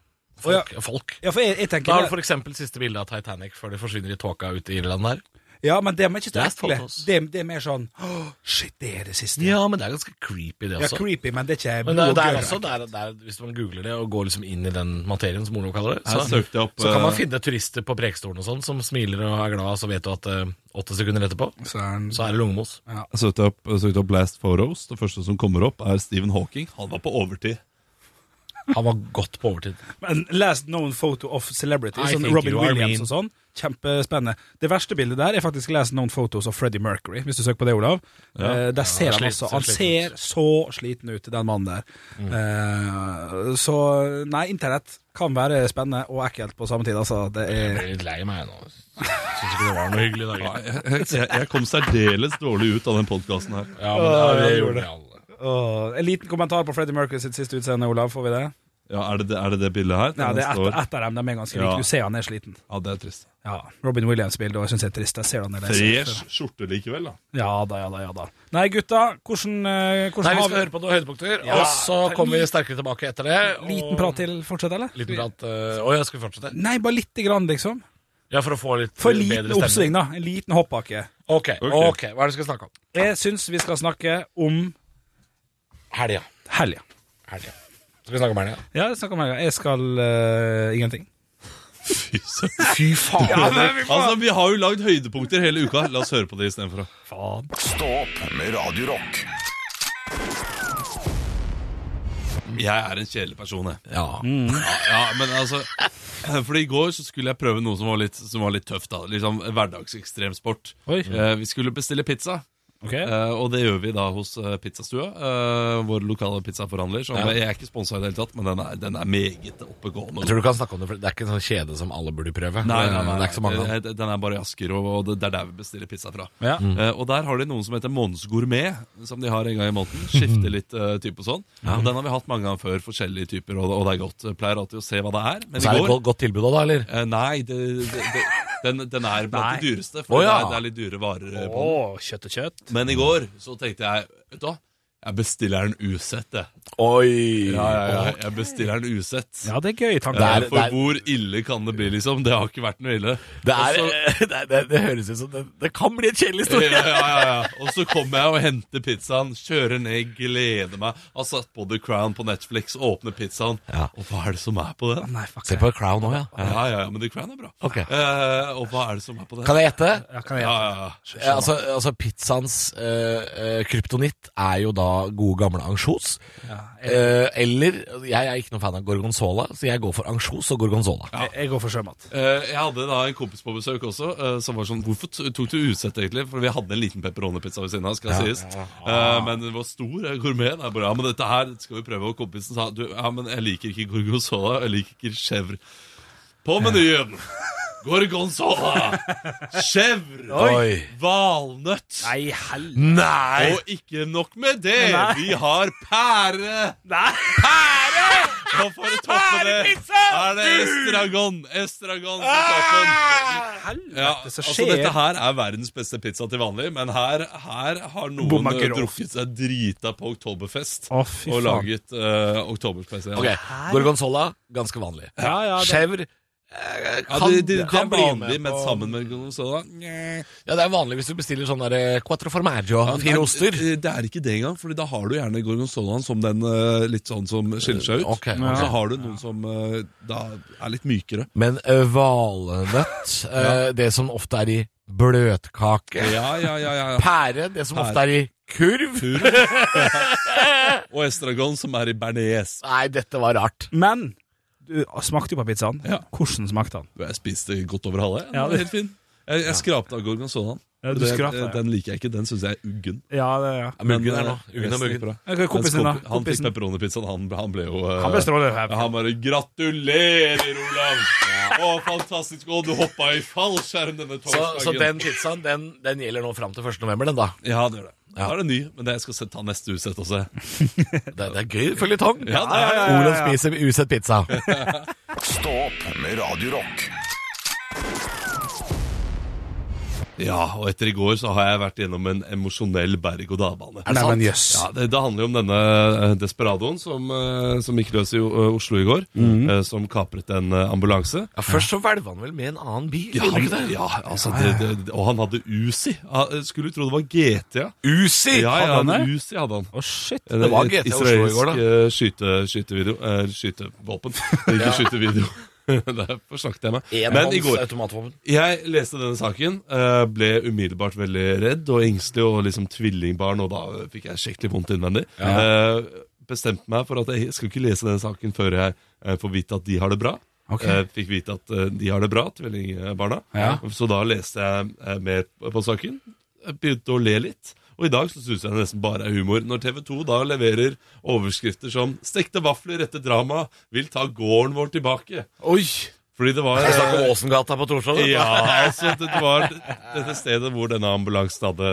Speaker 4: Å, ja.
Speaker 3: Folk. folk.
Speaker 4: Ja, for jeg, jeg tenker
Speaker 3: Da har du f.eks. siste bilde av Titanic før de forsvinner i tåka ute i Irland der.
Speaker 4: Ja, men det er ikke så
Speaker 3: Last
Speaker 4: ekle.
Speaker 3: photos.
Speaker 4: Det, det er mer sånn «Åh, Shit, det er det siste.
Speaker 3: Ja, men det er ganske creepy, det
Speaker 4: Ja,
Speaker 3: også.
Speaker 4: creepy, men det er ikke
Speaker 3: men det, er-
Speaker 4: blod
Speaker 3: det
Speaker 4: og
Speaker 3: er
Speaker 4: gørr.
Speaker 3: også, det er, det er, hvis man googler det og går liksom inn i den materien, som Olav kaller det,
Speaker 5: Her
Speaker 3: så,
Speaker 5: søkte jeg opp
Speaker 3: så kan man
Speaker 5: eh,
Speaker 3: finne turister på Prekestolen og sånn som smiler og er glad, så vet du at eh, åtte sekunder etterpå
Speaker 4: Så er den-
Speaker 3: så er det lungemos.
Speaker 5: Jeg søkte opp, jeg søkte opp Last Photos. Det første som kommer opp, er Stephen Hawking. Han var på overtid.
Speaker 3: Han var godt på overtid.
Speaker 4: Men last known photo of celebrity,
Speaker 3: I
Speaker 4: sånn
Speaker 3: think
Speaker 4: Robin
Speaker 3: you are
Speaker 4: Williams
Speaker 3: mean.
Speaker 4: og sånn. Kjempespennende. Det verste bildet der er faktisk last known photos of Freddie Mercury, hvis du søker på det, Olav. Eh, der ser han
Speaker 3: sliten-
Speaker 4: altså
Speaker 3: ser
Speaker 4: Han
Speaker 3: sliten
Speaker 4: ser så sliten ut, den mannen der. Eh, så nei, internett kan være spennende og ekkelt på samme tid, altså. Det
Speaker 3: Jeg
Speaker 4: er
Speaker 3: ble litt lei meg nå. Syns ikke det var noe hyggelig i dag.
Speaker 5: Jeg, jeg, jeg kom særdeles dårlig ut av den podkasten her.
Speaker 3: Ja, men det, har- det gjorde vi alle.
Speaker 4: Åh, En liten kommentar på Freddie Mercury sitt siste utseende, Olav. Får vi det?
Speaker 5: Ja, er, det, det- er det det bildet her?
Speaker 4: Ja, det er
Speaker 5: neste
Speaker 4: ett
Speaker 5: år?
Speaker 4: ett av dem. De er ganske
Speaker 5: Ja.
Speaker 4: like. Du ser han er sliten.
Speaker 5: Ja, det er trist.
Speaker 4: Ja. Robin Williams-bildet òg syns jeg er trist. Jeg ser han er leser.
Speaker 5: Fresh skjorte likevel, da.
Speaker 4: Ja da, ja da, ja da. Nei, gutta, hvordan, eh, hvordan
Speaker 3: Nei, vi
Speaker 4: har
Speaker 3: skal høre på noen høydepunkter,
Speaker 4: Ja.
Speaker 3: og så kommer vi sterkere tilbake etter det. og-
Speaker 4: Liten prat til fortsatt, eller?
Speaker 3: Liten prat. eh, Å ja, skal vi fortsette?
Speaker 4: Nei, bare lite grann, liksom.
Speaker 3: Ja, for å få litt
Speaker 4: For
Speaker 3: eh,
Speaker 4: liten
Speaker 3: bedre
Speaker 4: oppsving, da. En liten hoppbakke.
Speaker 3: Ok,
Speaker 5: Ok.
Speaker 3: ok, Hva er det vi skal snakke om?
Speaker 4: Jeg syns vi skal snakke om
Speaker 3: Helga.
Speaker 4: helga.
Speaker 3: Helga. Skal vi snakke om helga?
Speaker 4: Ja, snakk om helga. Jeg skal eh, ingenting.
Speaker 5: Fy søren.
Speaker 3: Fy faen!
Speaker 5: Altså, Vi har jo lagd høydepunkter hele uka. La oss høre på det istedenfor. da.
Speaker 4: Faen.
Speaker 1: Stå opp med Radio Rock.
Speaker 5: Jeg er en kjedelig person, jeg.
Speaker 3: Ja.
Speaker 5: Ja, men altså Fordi i går så skulle jeg prøve noe som var litt, som var litt tøft. da Liksom Hverdagsekstremsport.
Speaker 4: Oi.
Speaker 5: Eh, vi skulle bestille pizza,
Speaker 4: Ok.
Speaker 5: eh, og det gjør vi da hos eh, Pizzastua. Eh, vår lokale pizzaforhandler. Som
Speaker 3: Ja.
Speaker 5: Jeg er ikke sponsa i det hele tatt, men den er, den er meget oppegående.
Speaker 3: Jeg tror du kan snakke om det, for det er ikke en sånn kjede som alle burde prøve.
Speaker 5: Nei, nei, nei,
Speaker 3: Det er ikke så mange av dem.
Speaker 5: Eh, Den er bare i Asker, og og det det er der vi bestiller pizza fra.
Speaker 4: Ja.
Speaker 5: Eh, og der har de noen som heter Månedsgourmet, som de har en gang i måneden.
Speaker 3: Mm.
Speaker 5: Skifter litt eh, type og sånn. Og den har vi hatt mange ganger før, forskjellige typer, og, og det er godt. Jeg Pleier alltid å se hva det er. Men
Speaker 3: Så er
Speaker 5: i
Speaker 3: det et
Speaker 5: går
Speaker 3: godt, godt tilbud òg, da, eller?
Speaker 5: eh, Nei, det, det, det, den, den er blant de dyreste,
Speaker 3: Å,
Speaker 5: for
Speaker 3: ja.
Speaker 5: det, er, det er litt dyre varer eh, på
Speaker 4: Å,
Speaker 5: den.
Speaker 4: kjøtt og kjøtt.
Speaker 5: Men i går så tenkte jeg, vet du hva, jeg bestiller den usett, jeg.
Speaker 3: Oi!
Speaker 5: Ja, ja, ja, jeg bestiller den usett.
Speaker 4: Ja, det er gøy tanke.
Speaker 3: Det er-
Speaker 5: Eh, for hvor ille kan det bli, liksom? Det har ikke vært noe ille.
Speaker 3: Det, er,
Speaker 5: Og så-
Speaker 3: det, er- det, det høres ut som det, det kan bli en kjedelig
Speaker 5: ja,
Speaker 3: historie.
Speaker 5: ja, ja, ja. Og så kommer jeg og henter pizzaen, kjører ned, gleder meg. Har satt på The Crown på Netflix, åpner pizzaen.
Speaker 3: Ja.
Speaker 5: Og hva er det som er på den?
Speaker 4: Nei, fuck.
Speaker 3: Se på Crown òg, ja.
Speaker 5: Ja, ja, ja, men The Crown er bra.
Speaker 3: Ok.
Speaker 5: Eh, og hva er det som er på den?
Speaker 3: Kan jeg gjette?
Speaker 4: Ja, kan jeg
Speaker 5: Ja,
Speaker 4: gjette?
Speaker 5: ja, ja.
Speaker 3: Ja, altså, altså Pizzaens eh, eh, kryptonitt er jo da gode gamle ansjos. Eh, eller Jeg er ikke noen fan av gorgonzola, så jeg går for ansjos og gorgonzola.
Speaker 4: Jeg- Jeg går for sjømat.
Speaker 5: Eh, jeg hadde da en kompis på besøk også, eh, som var sånn Hvorfor t- tok du usett, egentlig? For vi hadde en liten pepperonipizza ved siden av, skal sies. Eh, men den var stor, eh, gourmet. Jeg bare, ja, men dette her skal vi prøve. Og kompisen sa du, ja, men jeg liker ikke gorgonzola, jeg liker ikke chèvre. På menyen! Gorgonzola! Chèvre!
Speaker 3: Oi.
Speaker 5: Valnøtt!
Speaker 4: Nei, helvete.
Speaker 3: Nei!
Speaker 5: Og ikke nok med det,
Speaker 4: Nei.
Speaker 5: vi har pære!
Speaker 4: Nei.
Speaker 5: Og for å toppe det, er det estragon. Estragon på
Speaker 4: Ah!
Speaker 5: toppen. Ja,
Speaker 4: Helvete, så
Speaker 5: altså
Speaker 4: skjer
Speaker 5: Dette her er verdens beste pizza til vanlig, men her, her har noen
Speaker 4: Bomma
Speaker 5: eh,
Speaker 4: grovt.
Speaker 5: drukket seg drita på Oktoberfest
Speaker 4: Å, fy
Speaker 5: og
Speaker 4: faen.
Speaker 5: laget uh, Oktoberfest. Ja.
Speaker 3: Ok, Gorgonzola, ganske vanlig.
Speaker 4: Ja, ja, det-
Speaker 3: Chèvre eh, kan,
Speaker 5: ja, det, det, det
Speaker 3: kan
Speaker 5: er
Speaker 3: bli
Speaker 5: vanlig,
Speaker 3: med
Speaker 5: men
Speaker 3: på-
Speaker 5: sammen med gorgonzola
Speaker 3: Ja, det er vanlig hvis du bestiller sånn der eh, quattro formaggio, fire oster.
Speaker 5: eh, Det det er ikke det engang, Fordi da har du gjerne gorgonzolaen som den eh, litt sånn som skiller seg ut.
Speaker 3: Ok,
Speaker 5: Og så
Speaker 3: ok.
Speaker 5: har du noen som eh, da er litt mykere.
Speaker 3: Men eh, valnøtt, eh, det som ofte er i bløtkake.
Speaker 5: Ja, ja, ja, ja.
Speaker 3: Pære, det som
Speaker 5: Pære.
Speaker 3: ofte er i kurv.
Speaker 5: Og estragon, som er i bearnés.
Speaker 3: Nei, dette var rart.
Speaker 4: Men du ah, smakte jo på pizzaen.
Speaker 5: Ja.
Speaker 4: Hvordan smakte den?
Speaker 5: Jeg spiste godt over halve. Den
Speaker 4: Ja,
Speaker 5: var
Speaker 4: det-
Speaker 5: helt fin. Jeg, jeg skrapte av gorgonzolaen.
Speaker 4: Ja, du
Speaker 5: Den-
Speaker 4: skrapte, ja.
Speaker 5: eh, Den liker jeg ikke. Den syns jeg er uggen.
Speaker 4: Ja, det, ja.
Speaker 3: muggen
Speaker 5: Men,
Speaker 3: er nå.
Speaker 5: eh,
Speaker 3: Uggen er
Speaker 5: resten
Speaker 3: muggen.
Speaker 5: bra.
Speaker 4: Ok, Kompisen, da.
Speaker 5: Mens kompi- Han fikk
Speaker 4: Kompisen.
Speaker 5: pepperoni-pizzaen. Han, han ble jo eh,
Speaker 4: Han ble strålende.
Speaker 5: ja, Han bare 'Gratulerer, Olav!' Å, fantastisk. Å, du hoppa i fallskjerm denne
Speaker 3: Så,
Speaker 5: torsdagen.
Speaker 3: så den pizzaen den, den gjelder nå fram til 1. november, den da.
Speaker 5: Ja, det gjør det.
Speaker 3: Ja.
Speaker 5: Da er det ny, men det jeg skal se- ta neste usett også.
Speaker 3: Det, det er gøy føljetong.
Speaker 5: Ja, det er det.
Speaker 3: Olav spiser usett pizza.
Speaker 1: Stå opp med Radio Rock.
Speaker 5: Ja, og etter i går så har jeg vært gjennom en emosjonell berg-og-dal-bane.
Speaker 4: Nei, men jøss.
Speaker 5: Ja, det, det handler jo om denne eh, desperadoen som, eh, som gikk løs i eh, Oslo i går.
Speaker 3: Mhm.
Speaker 5: eh, Som kapret en eh, ambulanse.
Speaker 3: Ja, først så hvelva han vel med en annen bil.
Speaker 5: Ja,
Speaker 3: gjorde han ikke
Speaker 5: han,
Speaker 3: det?
Speaker 5: ja, altså det, det, Og han hadde Uzi. Ah, Skulle jo tro det var GTA.
Speaker 3: Usi!
Speaker 5: Ja, ja,
Speaker 4: hadde han det?
Speaker 5: Uzi hadde han.
Speaker 4: Å, shit.
Speaker 3: Det var GTA i Oslo i går, da.
Speaker 5: Israelsk eh, skyte, skytevideo eh, Skytevåpen. Det er Ikke skytevideo. Derfor snakket jeg meg. Men i går
Speaker 3: automatvåpen.
Speaker 5: Jeg leste denne saken, eh, ble umiddelbart veldig redd og engstelig og liksom tvillingbarn, og da fikk jeg skikkelig vondt innvendig. Eh, Bestemte meg for at jeg skal ikke lese denne saken før jeg eh, får vite at de har det bra.
Speaker 4: Ok.
Speaker 5: Eh, Fikk vite at eh, de har det bra, tvillingbarna.
Speaker 4: Ja.
Speaker 5: Så da leste jeg eh, mer på saken. Jeg begynte å le litt. Og i dag så syns jeg det nesten bare er humor. Når TV 2 da leverer overskrifter som 'Stekte vafler etter drama vil ta gården vår tilbake'.
Speaker 3: Oi!
Speaker 5: Fordi det var eh,
Speaker 3: Jeg snakker om Åsengata på Torshov. vet du.
Speaker 5: ja, altså det var dette stedet hvor denne ambulansen hadde,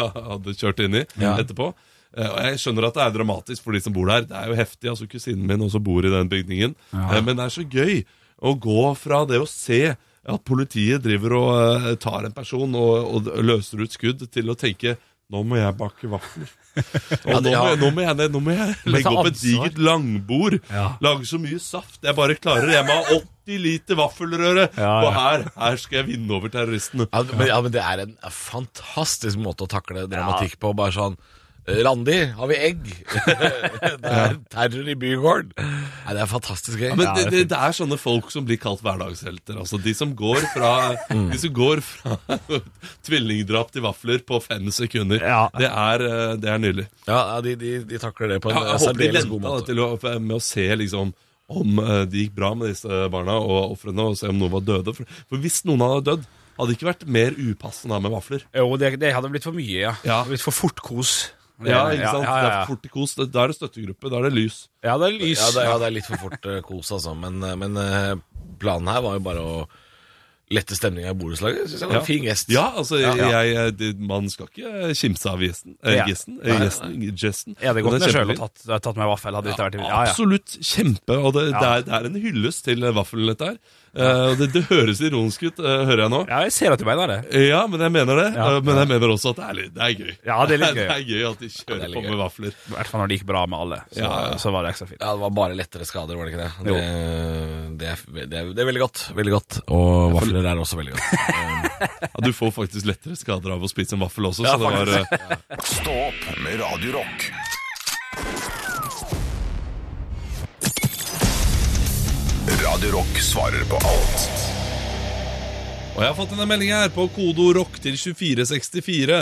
Speaker 5: hadde kjørt inn i etterpå. Eh, Og jeg skjønner at det er dramatisk for de som bor der. Det er jo heftig, altså kusinen min også bor i den bygningen. Eh, Men det er så gøy å gå fra det å se at politiet driver og eh, tar en person og, og løser ut skudd, til å tenke nå må jeg bake vafler. Og
Speaker 3: Ja,
Speaker 5: nå,
Speaker 3: det-
Speaker 5: må
Speaker 3: ja.
Speaker 5: jeg, nå, må jeg, ned- nå må jeg
Speaker 3: ta
Speaker 5: legge opp et
Speaker 3: ansvar.
Speaker 5: digert langbord.
Speaker 4: Ja.
Speaker 5: Lage så mye saft jeg bare klarer. Jeg må ha 80 liter vaffelrøre.
Speaker 4: Ja, ja.
Speaker 5: Og her, her skal jeg vinne over terroristene.
Speaker 3: Ja, men, ja, men det er en fantastisk måte å takle dramatikk på. Bare sånn Randi, har vi egg? det er terror i bygården. Nei, det er fantastisk gøy.
Speaker 5: Ja, men det, det, det er sånne folk som blir kalt hverdagshelter. Altså De som går fra,
Speaker 3: Mm.
Speaker 5: de som går fra tvillingdrap til vafler på fem sekunder.
Speaker 4: Ja.
Speaker 5: Det, er, eh, det er nydelig.
Speaker 3: ja, ja, de, de, de takler det på en
Speaker 5: Ja,
Speaker 3: eh,
Speaker 5: jeg håper de
Speaker 3: særdeles god
Speaker 5: lenta da
Speaker 3: måte.
Speaker 5: til å, med å se liksom om eh, det gikk bra med disse barna og ofrene, og se om noen var døde. For, for hvis noen hadde dødd, hadde det ikke vært mer upassende med vafler.
Speaker 4: Jo, det, det hadde blitt for mye, ja. Det
Speaker 5: Ja.
Speaker 4: hadde blitt for fort kos. Det-
Speaker 5: Ja, ikke sant?
Speaker 4: Ja, ja,
Speaker 5: Det er
Speaker 4: ja.
Speaker 5: fort i kos. Da er det støttegruppe, da er det lys.
Speaker 4: ja det er lys.
Speaker 3: Ja, det, ja, det er litt for fort eh, kos, altså. Men, eh, men eh, planen her var jo bare å lette stemninga i borettslaget. Syns jeg var
Speaker 5: Ja.
Speaker 3: en fin gest.
Speaker 5: Ja, altså,
Speaker 3: Ja.
Speaker 5: Jeg, det, man skal ikke kimse av gjesten. Eh,
Speaker 4: Ja.
Speaker 5: gjesten, eh, gjesten, gjesten.
Speaker 4: Jeg hadde
Speaker 5: Men
Speaker 4: gått
Speaker 5: det
Speaker 4: ned
Speaker 5: er
Speaker 4: sjøl og
Speaker 5: kjempefint.
Speaker 4: tatt, tatt meg vaffel. Hadde ikke vært ja, ja.
Speaker 5: Absolutt kjempe, og det, det,
Speaker 4: Ja.
Speaker 5: er, det er en hyllest til vaffelen dette her. Eh, og det, det høres ironisk ut, eh, hører jeg nå.
Speaker 4: ja, jeg ser at du mener det.
Speaker 5: Eh, Ja, men jeg mener det.
Speaker 4: Ja.
Speaker 5: Eh, Men jeg mener også at det er, litt, det er gøy.
Speaker 4: Ja, det er litt gøy.
Speaker 5: det er gøy at de kjører
Speaker 3: det er litt
Speaker 5: på med vafler.
Speaker 4: I hvert fall når det gikk bra med alle. Så,
Speaker 5: Ja, ja.
Speaker 4: så var det ekstra fint.
Speaker 3: Ja, det var bare lettere skader, var det ikke det?
Speaker 4: Jo.
Speaker 3: Det, det, er, det, er, det er veldig godt. Veldig godt. Og vafler er også veldig godt.
Speaker 5: Ja, du får faktisk lettere skader av å spise en vaffel også, så det var eh,
Speaker 1: Stå opp med Radio Rock. Radio Rock svarer på alt.
Speaker 5: Og jeg har fått denne meldingen her på kodeord rock til 2464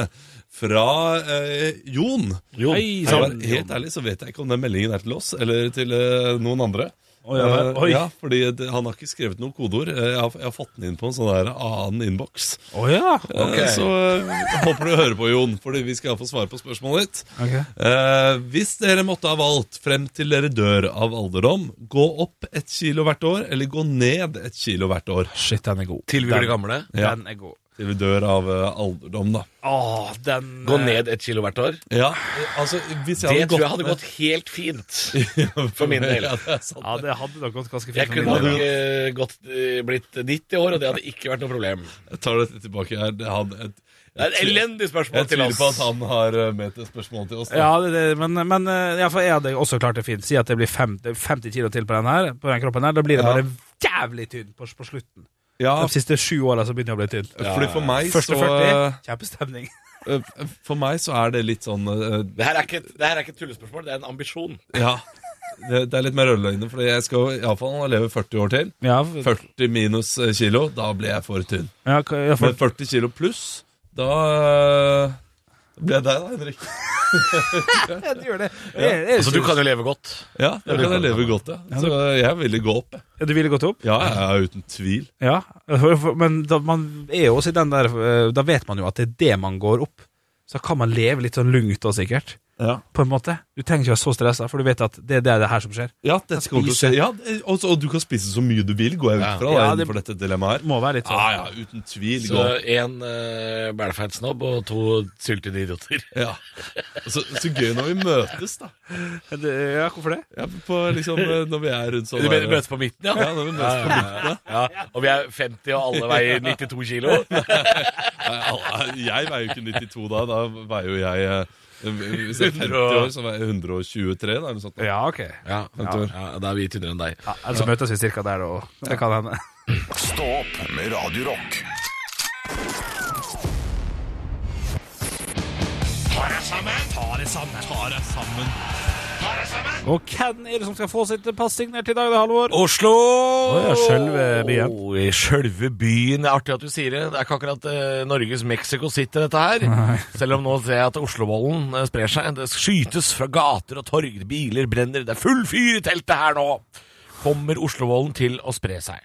Speaker 5: fra eh, Jon.
Speaker 4: Jo.
Speaker 5: Nei,
Speaker 4: Hei,
Speaker 5: men helt ærlig så vet jeg ikke om den meldingen er til oss eller til eh, noen andre.
Speaker 4: Oi, ja,
Speaker 5: Eh,
Speaker 4: oi.
Speaker 5: ja, fordi det, Han har ikke skrevet noe kodeord. Eh, Jeg har, jeg har fått den inn på en sånn der annen innboks.
Speaker 4: Å ja.
Speaker 5: Eh, Så eh, håper du hører på, Jon, fordi vi skal få svare på spørsmålet ditt.
Speaker 4: Ok.
Speaker 5: Eh, hvis dere måtte ha valgt frem til dere dør av alderdom, gå opp et kilo hvert år eller gå ned et kilo hvert år
Speaker 4: Shit, den er god.
Speaker 3: Til vi
Speaker 4: Den-
Speaker 3: blir gamle.
Speaker 5: Ja.
Speaker 4: Den er god.
Speaker 5: til vi dør av eh, alderdom, da.
Speaker 4: Åh, den
Speaker 3: Gå ned et kilo hvert år.
Speaker 5: Ja, eh, altså hvis jeg
Speaker 3: Det
Speaker 5: hadde
Speaker 3: tror jeg hadde
Speaker 5: med-
Speaker 3: gått helt fint for min del.
Speaker 5: Ja, det er sant.
Speaker 4: eh, Ja, det hadde nok gått ganske fint.
Speaker 3: Jeg
Speaker 4: for
Speaker 3: kunne
Speaker 4: min del,
Speaker 3: nok
Speaker 4: ja.
Speaker 3: eh, godt eh, blitt 90 år, og det hadde ikke vært noe problem.
Speaker 5: Jeg tar dette tilbake her. Det hadde et,
Speaker 3: Det er et elendig spørsmål
Speaker 5: Jeg
Speaker 3: til
Speaker 5: tviler
Speaker 3: oss.
Speaker 5: på at han har eh, med et spørsmål til oss. da.
Speaker 4: Ja, det, det, men, men eh, ja, for jeg hadde også klart det fint. Si at det blir fem, 50 kilo til på den her På den kroppen her. Da blir det
Speaker 5: Ja.
Speaker 4: bare jævlig tynn på, på slutten.
Speaker 5: Ja,
Speaker 4: De siste sju åra så begynner jeg å bli tynn.
Speaker 5: fordi for meg
Speaker 4: Første
Speaker 5: så
Speaker 4: 40, kjempestemning.
Speaker 5: eh, For meg så er det litt sånn eh,
Speaker 3: Det her, er ikke, et- det her er ikke et tullespørsmål, det er en ambisjon.
Speaker 5: Ja. Det, det er litt mer rødløgne, for jeg skal iallfall leve 40 år til.
Speaker 4: Ja,
Speaker 5: 40 minus eh, kilo, da blir jeg for tynn.
Speaker 4: ja, k- ja,
Speaker 5: Men
Speaker 4: for,
Speaker 5: 40 kilo pluss, da eh, blir jeg deg, da, Henrik.
Speaker 4: ja, du gjør det. det, er- det er
Speaker 3: Altså, du
Speaker 4: ikke-
Speaker 3: kan jo leve godt.
Speaker 5: Ja, da kan jeg leve godt, ja. Så eh, jeg ville gå opp. jeg.
Speaker 4: Ja, du ville gått opp?
Speaker 5: Ja, ja, ja, uten tvil.
Speaker 4: Ja. For, for, men da, man er jo også i den der eh, Da vet man jo at det er det man går opp. Så kan man leve litt sånn lungt og sikkert.
Speaker 5: Ja,
Speaker 4: på en måte. Du trenger ikke være så stressa, for du vet at det, det er det her som skjer.
Speaker 5: ja dette kommer til å skje. Ja, det- og, så- og du kan spise så mye du vil, går jeg
Speaker 3: Ja.
Speaker 5: ut fra, da,
Speaker 4: Ja, det-
Speaker 5: innenfor dette dilemmaet her.
Speaker 4: Må være litt sånn.
Speaker 5: Ja, ja, uten tvil.
Speaker 3: Så
Speaker 5: gå.
Speaker 3: én uh, bælefeitsnobb og to syltede idioter.
Speaker 5: Ja. Så, så gøy når vi møtes, da.
Speaker 4: Det, ja, hvorfor det?
Speaker 5: Ja, på, liksom, eh, når vi er rundt sånn
Speaker 3: Du mener
Speaker 5: der-
Speaker 3: møtes på midten, ja?
Speaker 5: Ja, når vi møtes på midten. da.
Speaker 3: Ja, Og vi er 50, og alle veier 92 kilo.
Speaker 5: Nei, Jeg veier jo ikke 92 da. Da veier jo jeg eh, Hvis jeg er 50 år, så veier jeg 123. Da, eller noe sånt.
Speaker 4: Ja, ok.
Speaker 3: Ja, ja,
Speaker 5: år.
Speaker 3: ja Da er vi tynnere enn deg.
Speaker 4: Ja, altså møtes vi cirka der, og det kan hende.
Speaker 1: Stå opp med Radio Rock.
Speaker 4: Og hvem er det som skal få sitt pass signert i dag, da, Halvor?
Speaker 3: Oslo!
Speaker 4: ja, sjølve byen.
Speaker 3: Å, i Sjølve byen. Det er artig at du sier det. Det er ikke akkurat eh, Norges Mexico City, dette her. Selv om nå ser jeg at Oslovollen eh, sprer seg. Det skytes fra gater og torg, biler brenner. Det er full fyr i teltet her nå! Kommer Oslovollen til å spre seg?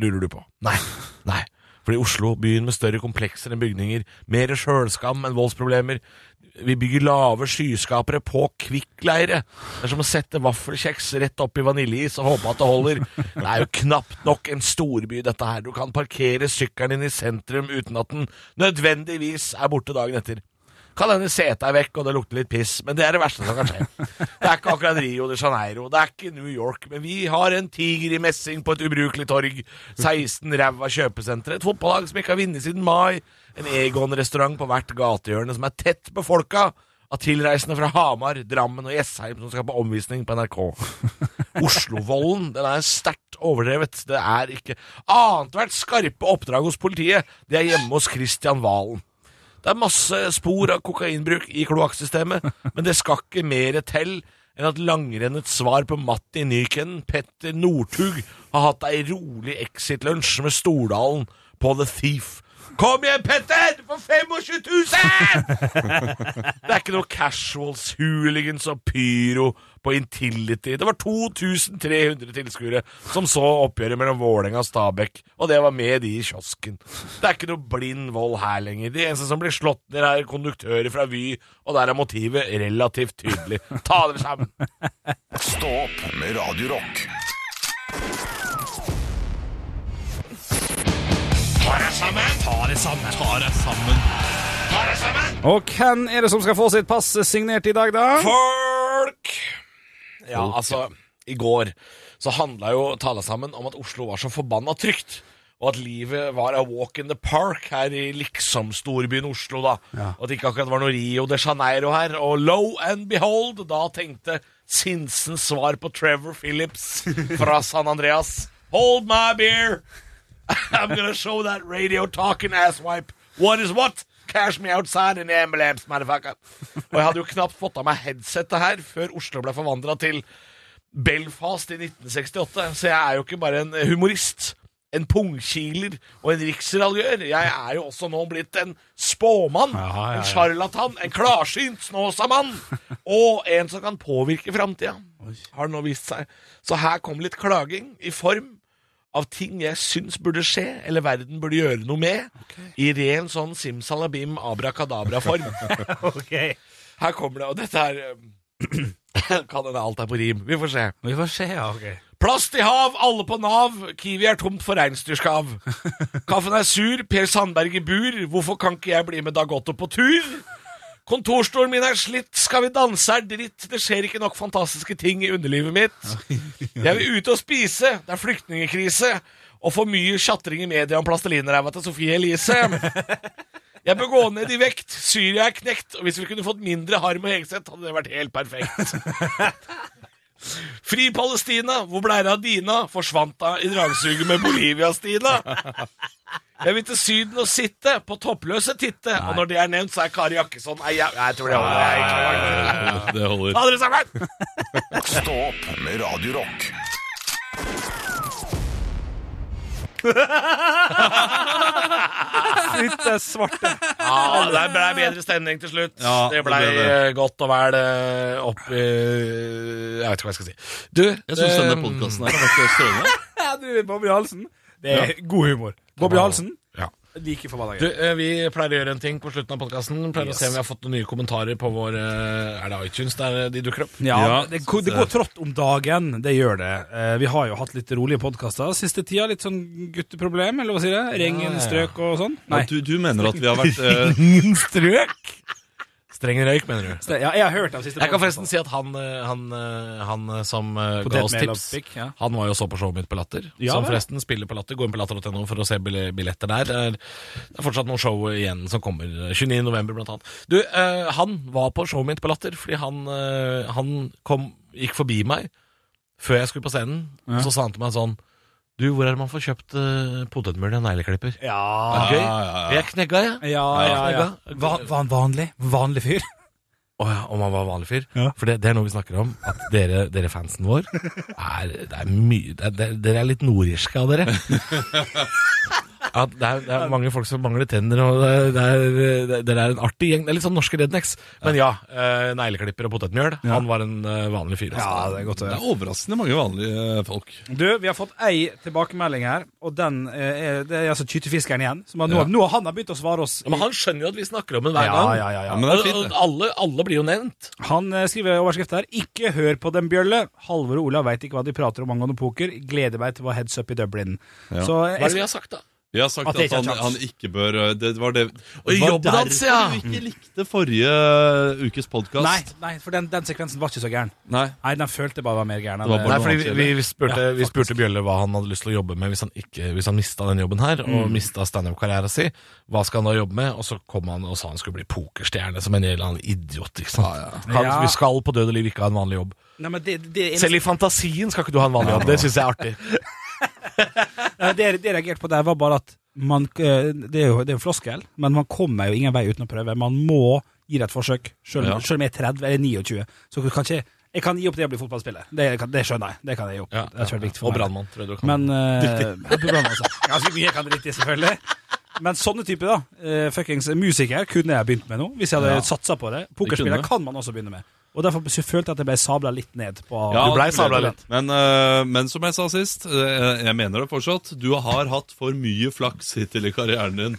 Speaker 3: Lurer du på? Nei. Nei. Fordi Oslo, byen med større komplekser enn bygninger, mer sjølskam enn voldsproblemer Vi bygger lave skyskapere på kvikkleire. Det er som å sette vaffelkjeks rett opp i vaniljeis og håpe at det holder. Det er jo knapt nok en storby, dette her. Du kan parkere sykkelen din i sentrum uten at den nødvendigvis er borte dagen etter. Kan hende setet er vekk og det lukter litt piss, men det er det verste som kan skje. Det er ikke akkurat Rio de Janeiro, det er ikke New York, men vi har en tiger i messing på et ubrukelig torg, 16 ræva kjøpesentre, et fotballag som ikke har vunnet siden mai, en Egon-restaurant på hvert gatehjørne som er tett befolka av tilreisende fra Hamar, Drammen og Jessheim som skal på omvisning på NRK. Oslovollen, den er sterkt overdrevet. Det er ikke Annethvert skarpe oppdrag hos politiet, det er hjemme hos Christian Valen. Det er masse spor av kokainbruk i kloakksystemet, men det skal ikke mer til enn at langrennets svar på Matti Nyken, Petter Northug, har hatt ei rolig exit-lunsj med Stordalen på The Thief. Kom igjen, Petter! For 25 000! Det er ikke noe casuals, hooligans og pyro på Intility. Det var 2300 tilskuere som så oppgjøret mellom Vålerenga og Stabæk, og det var med de i kiosken. Det er ikke noe blind vold her lenger. De eneste som blir slått ned, er konduktører fra Vy, og der er motivet relativt tydelig. Ta dere sammen!
Speaker 1: Stå opp med Radio Rock.
Speaker 4: Og hvem er det som skal få sitt pass signert i dag, da?
Speaker 3: Folk! Ja, altså, i går så handla jo tala sammen om at Oslo var så forbanna trygt. Og at livet var a walk in the park her i liksom-storbyen Oslo, da. Og at det ikke akkurat var noe Rio de Janeiro her. Og lo and behold, da tenkte Sinsens svar på Trevor Phillips fra San Andreas Hold my beer! I'm gonna show that radio talking asswipe what is what. Cash me outside in the ambulance, motherfucker. Og jeg hadde jo knapt fått av meg headsetet her før Oslo ble forvandla til Belfast i 1968, så jeg er jo ikke bare en humorist. En pungkiler og en riksraljør. Jeg er jo også nå blitt en spåmann,
Speaker 4: Jaha, ja, ja.
Speaker 3: en sjarlatan, en klarsynt Snåsamann og en som kan påvirke framtida, har det nå vist seg. Så her kom litt klaging i form av ting jeg syns burde skje, eller verden burde gjøre noe med, i ren sånn simsalabim abrakadabra-form.
Speaker 4: Ok.
Speaker 3: Her kommer det, og dette er eh, Kan hende alt er på rim. Vi får se.
Speaker 4: Vi får se, ja, ok.
Speaker 3: Plast i hav, alle på Nav. Kiwi er tomt for reinsdyrskav. Kaffen er sur, Per Sandberg i bur. Hvorfor kan ikke jeg bli med Dagotto på tur? Kontorstolen min er slitt, skal vi danse er dritt, det skjer ikke nok fantastiske ting i underlivet mitt. Jeg vil ut og spise, det er flyktningekrise, og for mye tjatring i media om plastelinræva til Sofie Elise. Jeg bør gå ned i vekt, Syria er knekt, og hvis vi kunne fått mindre harm og hegseth, hadde det vært helt perfekt. Fri Palestina, hvor blei det av Dina? Forsvant da i dragsuget med Bolivia-Stina. Jeg vil til Syden og sitte, på toppløse titte. Og når det er nevnt, så er Kari Jakkesson Nei, jeg, jeg tror det holder. Jeg, jeg, jeg,
Speaker 5: Eh, Det holder.
Speaker 3: Ta dere sammen!
Speaker 1: Stå opp med Radio Rock.
Speaker 4: Fytte svarte.
Speaker 3: Ja, det blei bedre stemning til slutt.
Speaker 5: Ja,
Speaker 3: det blei
Speaker 5: det ble det.
Speaker 3: eh, godt og vel eh, opp i Jeg vet ikke hva jeg skal si. Du
Speaker 5: Jeg syns
Speaker 3: eh,
Speaker 5: denne podkasten her har vært så strålende.
Speaker 4: Ja, du, Bobby Halsen. Det er god humor. Bobby Halsen.
Speaker 3: Ja.
Speaker 4: Like forbanna
Speaker 3: Du,
Speaker 4: gøy.
Speaker 3: eh, vi pleier å gjøre en ting på slutten av podkasten. Pleier å se om vi har fått noen nye kommentarer på vår eh, Er det iTunes der eh, de dukker opp?
Speaker 4: Ja,
Speaker 5: Ja,
Speaker 4: det, ko- det går trått om dagen, det gjør det. Eh, vi har jo hatt litt rolige podkaster siste tida. Litt sånn gutteproblem, eller hva sier jeg? Rengen, strøk og sånn. Nei.
Speaker 5: Ja, du, du mener at vi har vært eh,
Speaker 4: Ingen strøk?
Speaker 3: Streng røyk, mener du?
Speaker 4: Ja, jeg har hørt de siste
Speaker 3: Jeg kan forresten si at han, eh, han, eh, han eh, som eh, ga oss
Speaker 4: Potetmel og
Speaker 3: tips,
Speaker 4: pikk, ja.
Speaker 3: han var jo og så på showet mitt på Latter.
Speaker 4: Ja,
Speaker 3: som
Speaker 4: vel.
Speaker 3: forresten spiller på Latter. Gå inn på latter.no for å se bill- billetter der. Det er, det er fortsatt noen show igjen som kommer. eh, 29. november, blant annet. Du, eh, han var på showet mitt på Latter fordi han, eh, han kom, gikk forbi meg før jeg skulle på scenen. og Så sa han til meg sånn Du, hvor er det man får kjøpt uh, potetmel og negleklipper?
Speaker 4: Ja,
Speaker 3: Er det gøy?
Speaker 5: Ah, ja, ja, ja.
Speaker 3: Jeg knegga, jeg.
Speaker 4: ja, ja. ja.
Speaker 3: Jeg knegga.
Speaker 4: Va, var han vanlig? Vanlig fyr?
Speaker 3: Å ja, om han var vanlig fyr?
Speaker 4: Ja.
Speaker 3: For det, det er noe vi snakker om. At dere, dere fansen vår er, det er mye det er, det- Dere er litt nordirske av dere. At det, er, det er mange folk som mangler tenner, og det det er, det- dere er en artig gjeng. Det er Litt sånn norske rednecks. Men ja, eh, negleklipper og potetmjøl. Han var en eh, vanlig fyr. altså.
Speaker 4: det er godt å
Speaker 5: Det er overraskende mange vanlige eh, folk.
Speaker 4: Du, vi har fått ei tilbakemelding her, og den eh, er, det er altså kytefiskeren igjen. Som har, nå,
Speaker 5: Ja.
Speaker 4: nå har han har begynt å svare oss.
Speaker 3: Ja, Men han skjønner jo at vi snakker om den hver
Speaker 4: Ja,
Speaker 3: gang.
Speaker 4: ja, ja, ja.
Speaker 5: Ja, men det er
Speaker 3: Og-
Speaker 5: fint,
Speaker 3: og
Speaker 5: det.
Speaker 3: alle, alle blir jo nevnt.
Speaker 4: Han eh, skriver overskrift her. 'Ikke hør på den, Bjølle'. Halvor og Olav veit ikke hva de prater om angående poker. Gleder meg til å ha heads up i Dublin. Så
Speaker 3: Hva
Speaker 4: eh,
Speaker 3: er det
Speaker 4: jeg,
Speaker 3: vi har sagt, da?
Speaker 5: Vi har sagt
Speaker 4: At
Speaker 5: at,
Speaker 4: det ikke er
Speaker 5: han,
Speaker 4: kjapt.
Speaker 5: han ikke bør eh, Det var det
Speaker 3: Og i
Speaker 5: det var
Speaker 3: jobben hans,
Speaker 5: derfor
Speaker 3: ja.
Speaker 5: du ikke likte forrige eh, ukes podkast.
Speaker 4: nei, nei, for den, den sekvensen var ikke så gæren.
Speaker 5: Nei.
Speaker 4: Nei, den følte jeg bare var mer gæren. enn
Speaker 5: Det var
Speaker 4: det.
Speaker 5: bare
Speaker 3: Nei,
Speaker 5: noe
Speaker 3: fordi
Speaker 5: annet
Speaker 3: vi, vi, spurte, vi spurte Bjølle hva han hadde lyst til å jobbe med hvis han, ikke, hvis han mista den jobben her, og mista standup-karriera si. Hva skal han da jobbe med? Og så kom han og sa han skulle bli pokerstjerne, som en eller annen idiot. ikke sant? Han,
Speaker 4: Ja.
Speaker 3: Vi skal på død og liv ikke ha en vanlig jobb.
Speaker 4: Nei, men det, det, eneste-
Speaker 3: Selv i fantasien skal ikke du ha en vanlig jobb. Det syns jeg er artig.
Speaker 4: Nei, det, det jeg reagerte på der, var bare at man, eh, det, er jo, det er jo floskel, men man kommer jo ingen vei uten å prøve. Man må gi det et forsøk, selv,
Speaker 5: Ja.
Speaker 4: selv om jeg er 30 eller 29. Så du kan ikke, jeg kan gi opp det å bli fotballspiller. Det, kan- det skjønner jeg. Det kan jeg gi opp. det er kjempeviktig for
Speaker 3: Og
Speaker 4: meg.
Speaker 3: brannmann, tror jeg du kan.
Speaker 4: Men eh, jeg blir blant, altså. Ganske mye kan det riktig, selvfølgelig. Men sånne typer, da. eh, fuckings musiker kunne jeg begynt med nå, hvis jeg hadde
Speaker 5: Ja.
Speaker 4: satsa på det. Pokerspiller
Speaker 5: Det kunne.
Speaker 4: kan man også begynne med. Og derfor følte jeg at jeg ble sabla litt ned på
Speaker 5: Ja,
Speaker 3: Du blei
Speaker 5: det
Speaker 3: sabla
Speaker 5: ble det.
Speaker 3: litt.
Speaker 5: Men, eh, men som jeg sa sist, eh, jeg mener det fortsatt, du har hatt for mye flaks hittil i karrieren din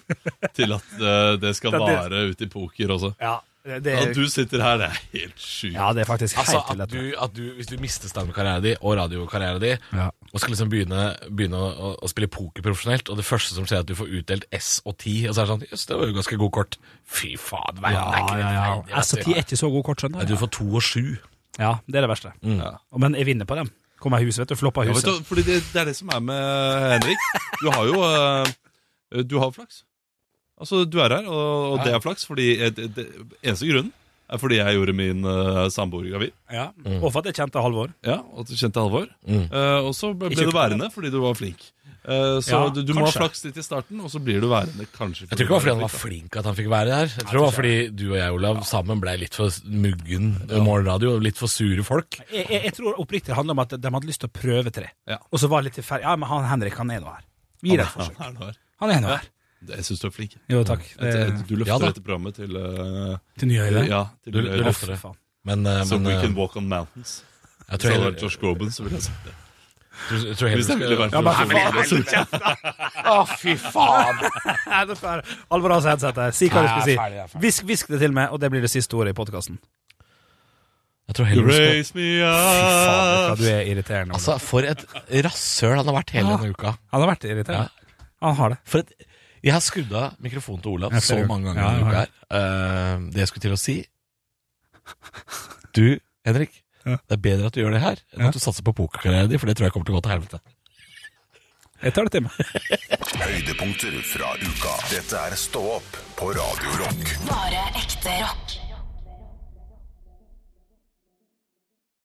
Speaker 5: til at eh, det skal
Speaker 4: Det er
Speaker 5: vare ute i poker også.
Speaker 4: Ja, det, det,
Speaker 5: At du sitter her, det er helt sjukt.
Speaker 4: ja, det er faktisk
Speaker 3: Altså,
Speaker 4: helt
Speaker 3: at
Speaker 4: ullett.
Speaker 3: du, at du, hvis du mister standup-karrieren din og radiokarrieren din,
Speaker 4: Ja.
Speaker 3: og skal liksom begynne, begynne å, å, å spille poker profesjonelt, og det første som skjer, er at du får utdelt S og 10, og så er det sånn Jøss, det var jo ganske god kort. Fy faen, verden er ikke altså.
Speaker 4: ja, ja, ja. SAT er ikke så god kort, skjønner
Speaker 3: Nei,
Speaker 4: du.
Speaker 3: du Mm. får to og sju.
Speaker 4: Ja, det er det verste. Og- Men jeg vinner på dem. Kommer jeg huset, vet du. Flopper
Speaker 5: Ja, vet
Speaker 4: huset.
Speaker 5: du, fordi det, det er det som er med Henrik. Du har jo eh, Du har flaks. Altså, du er her, og, og det er flaks. Fordi eh, det, det, Eneste grunnen er fordi jeg gjorde min eh, samboer gravid.
Speaker 4: Ja. Og for at jeg kjente Halvor.
Speaker 5: Ja, og at du kjente Halvor.
Speaker 3: Mm.
Speaker 5: Eh, og så ble,
Speaker 4: I
Speaker 5: ble du
Speaker 4: tjukk-
Speaker 5: værende fordi du var flink. Eh, så
Speaker 4: Ja,
Speaker 5: du, du må ha
Speaker 4: kanskje.
Speaker 5: flaks litt i starten, og så blir du værende kanskje.
Speaker 3: Jeg tror ikke det var fordi han var flink at han fikk være her. Jeg tror det var fordi du og jeg, Olav, sammen ble litt for muggen morgenradio, og litt for sure folk.
Speaker 4: Jeg, jeg, jeg tror oppriktig det handler om at de hadde lyst til å prøve tre.
Speaker 5: Ja.
Speaker 4: Og så var det litt tilfeldig. Ja, men han Henrik, han er nå her. Vi gir det et
Speaker 5: Han
Speaker 4: forsøk.
Speaker 5: er nå her.
Speaker 4: Han er nå her.
Speaker 5: Jeg syns du er flink.
Speaker 4: Jo, takk.
Speaker 3: Mm.
Speaker 4: Eh,
Speaker 5: Et, et, du løfter
Speaker 3: Eh, Ja da.
Speaker 5: dette programmet til, eh,
Speaker 4: til nye
Speaker 5: til Ja, til
Speaker 3: Du- du
Speaker 5: eh,
Speaker 3: løfter det. Men, eh,
Speaker 5: So
Speaker 3: men
Speaker 5: we
Speaker 3: eh,
Speaker 5: can walk on mountains.
Speaker 3: jeg tror
Speaker 5: Så hadde
Speaker 3: heller
Speaker 5: det vært Josh Groban, så ville jeg sagt det.
Speaker 3: tror- jeg tror heller
Speaker 5: Hvis jeg ville
Speaker 3: skal-
Speaker 5: vært
Speaker 4: Ja, men
Speaker 5: filosof.
Speaker 3: Å, fy faen!
Speaker 4: Alvor har seg headset her. Si hva du
Speaker 3: Nei, jeg er ferdig,
Speaker 4: skal
Speaker 3: jeg er
Speaker 4: si.
Speaker 3: ferdig.
Speaker 4: Hvisk, hvisk det til meg, og det blir det siste ordet i podkasten.
Speaker 3: Jeg tror
Speaker 5: You
Speaker 3: heller skal-
Speaker 5: raise me up.
Speaker 4: Du er irriterende. Olav.
Speaker 3: Altså, for et rasshøl han har vært hele denne uka.
Speaker 4: Han har vært irriterende. Han har det.
Speaker 3: For et, jeg har skrudd av mikrofonen til Olav
Speaker 4: Ja,
Speaker 3: så
Speaker 4: flere
Speaker 3: mange ganger
Speaker 4: ganger.
Speaker 3: denne
Speaker 4: Ja,
Speaker 3: uka her. Eh, det jeg skulle til å si Du, Henrik,
Speaker 4: Ja.
Speaker 3: det er bedre at du gjør det her enn
Speaker 4: Ja.
Speaker 3: at du satser på pokerkarrieren din, for det tror jeg kommer til å gå til helvete.
Speaker 4: Jeg tar det til meg.
Speaker 1: Høydepunkter fra uka. Dette er Stå opp på Radio Rock.
Speaker 2: Bare ekte rock.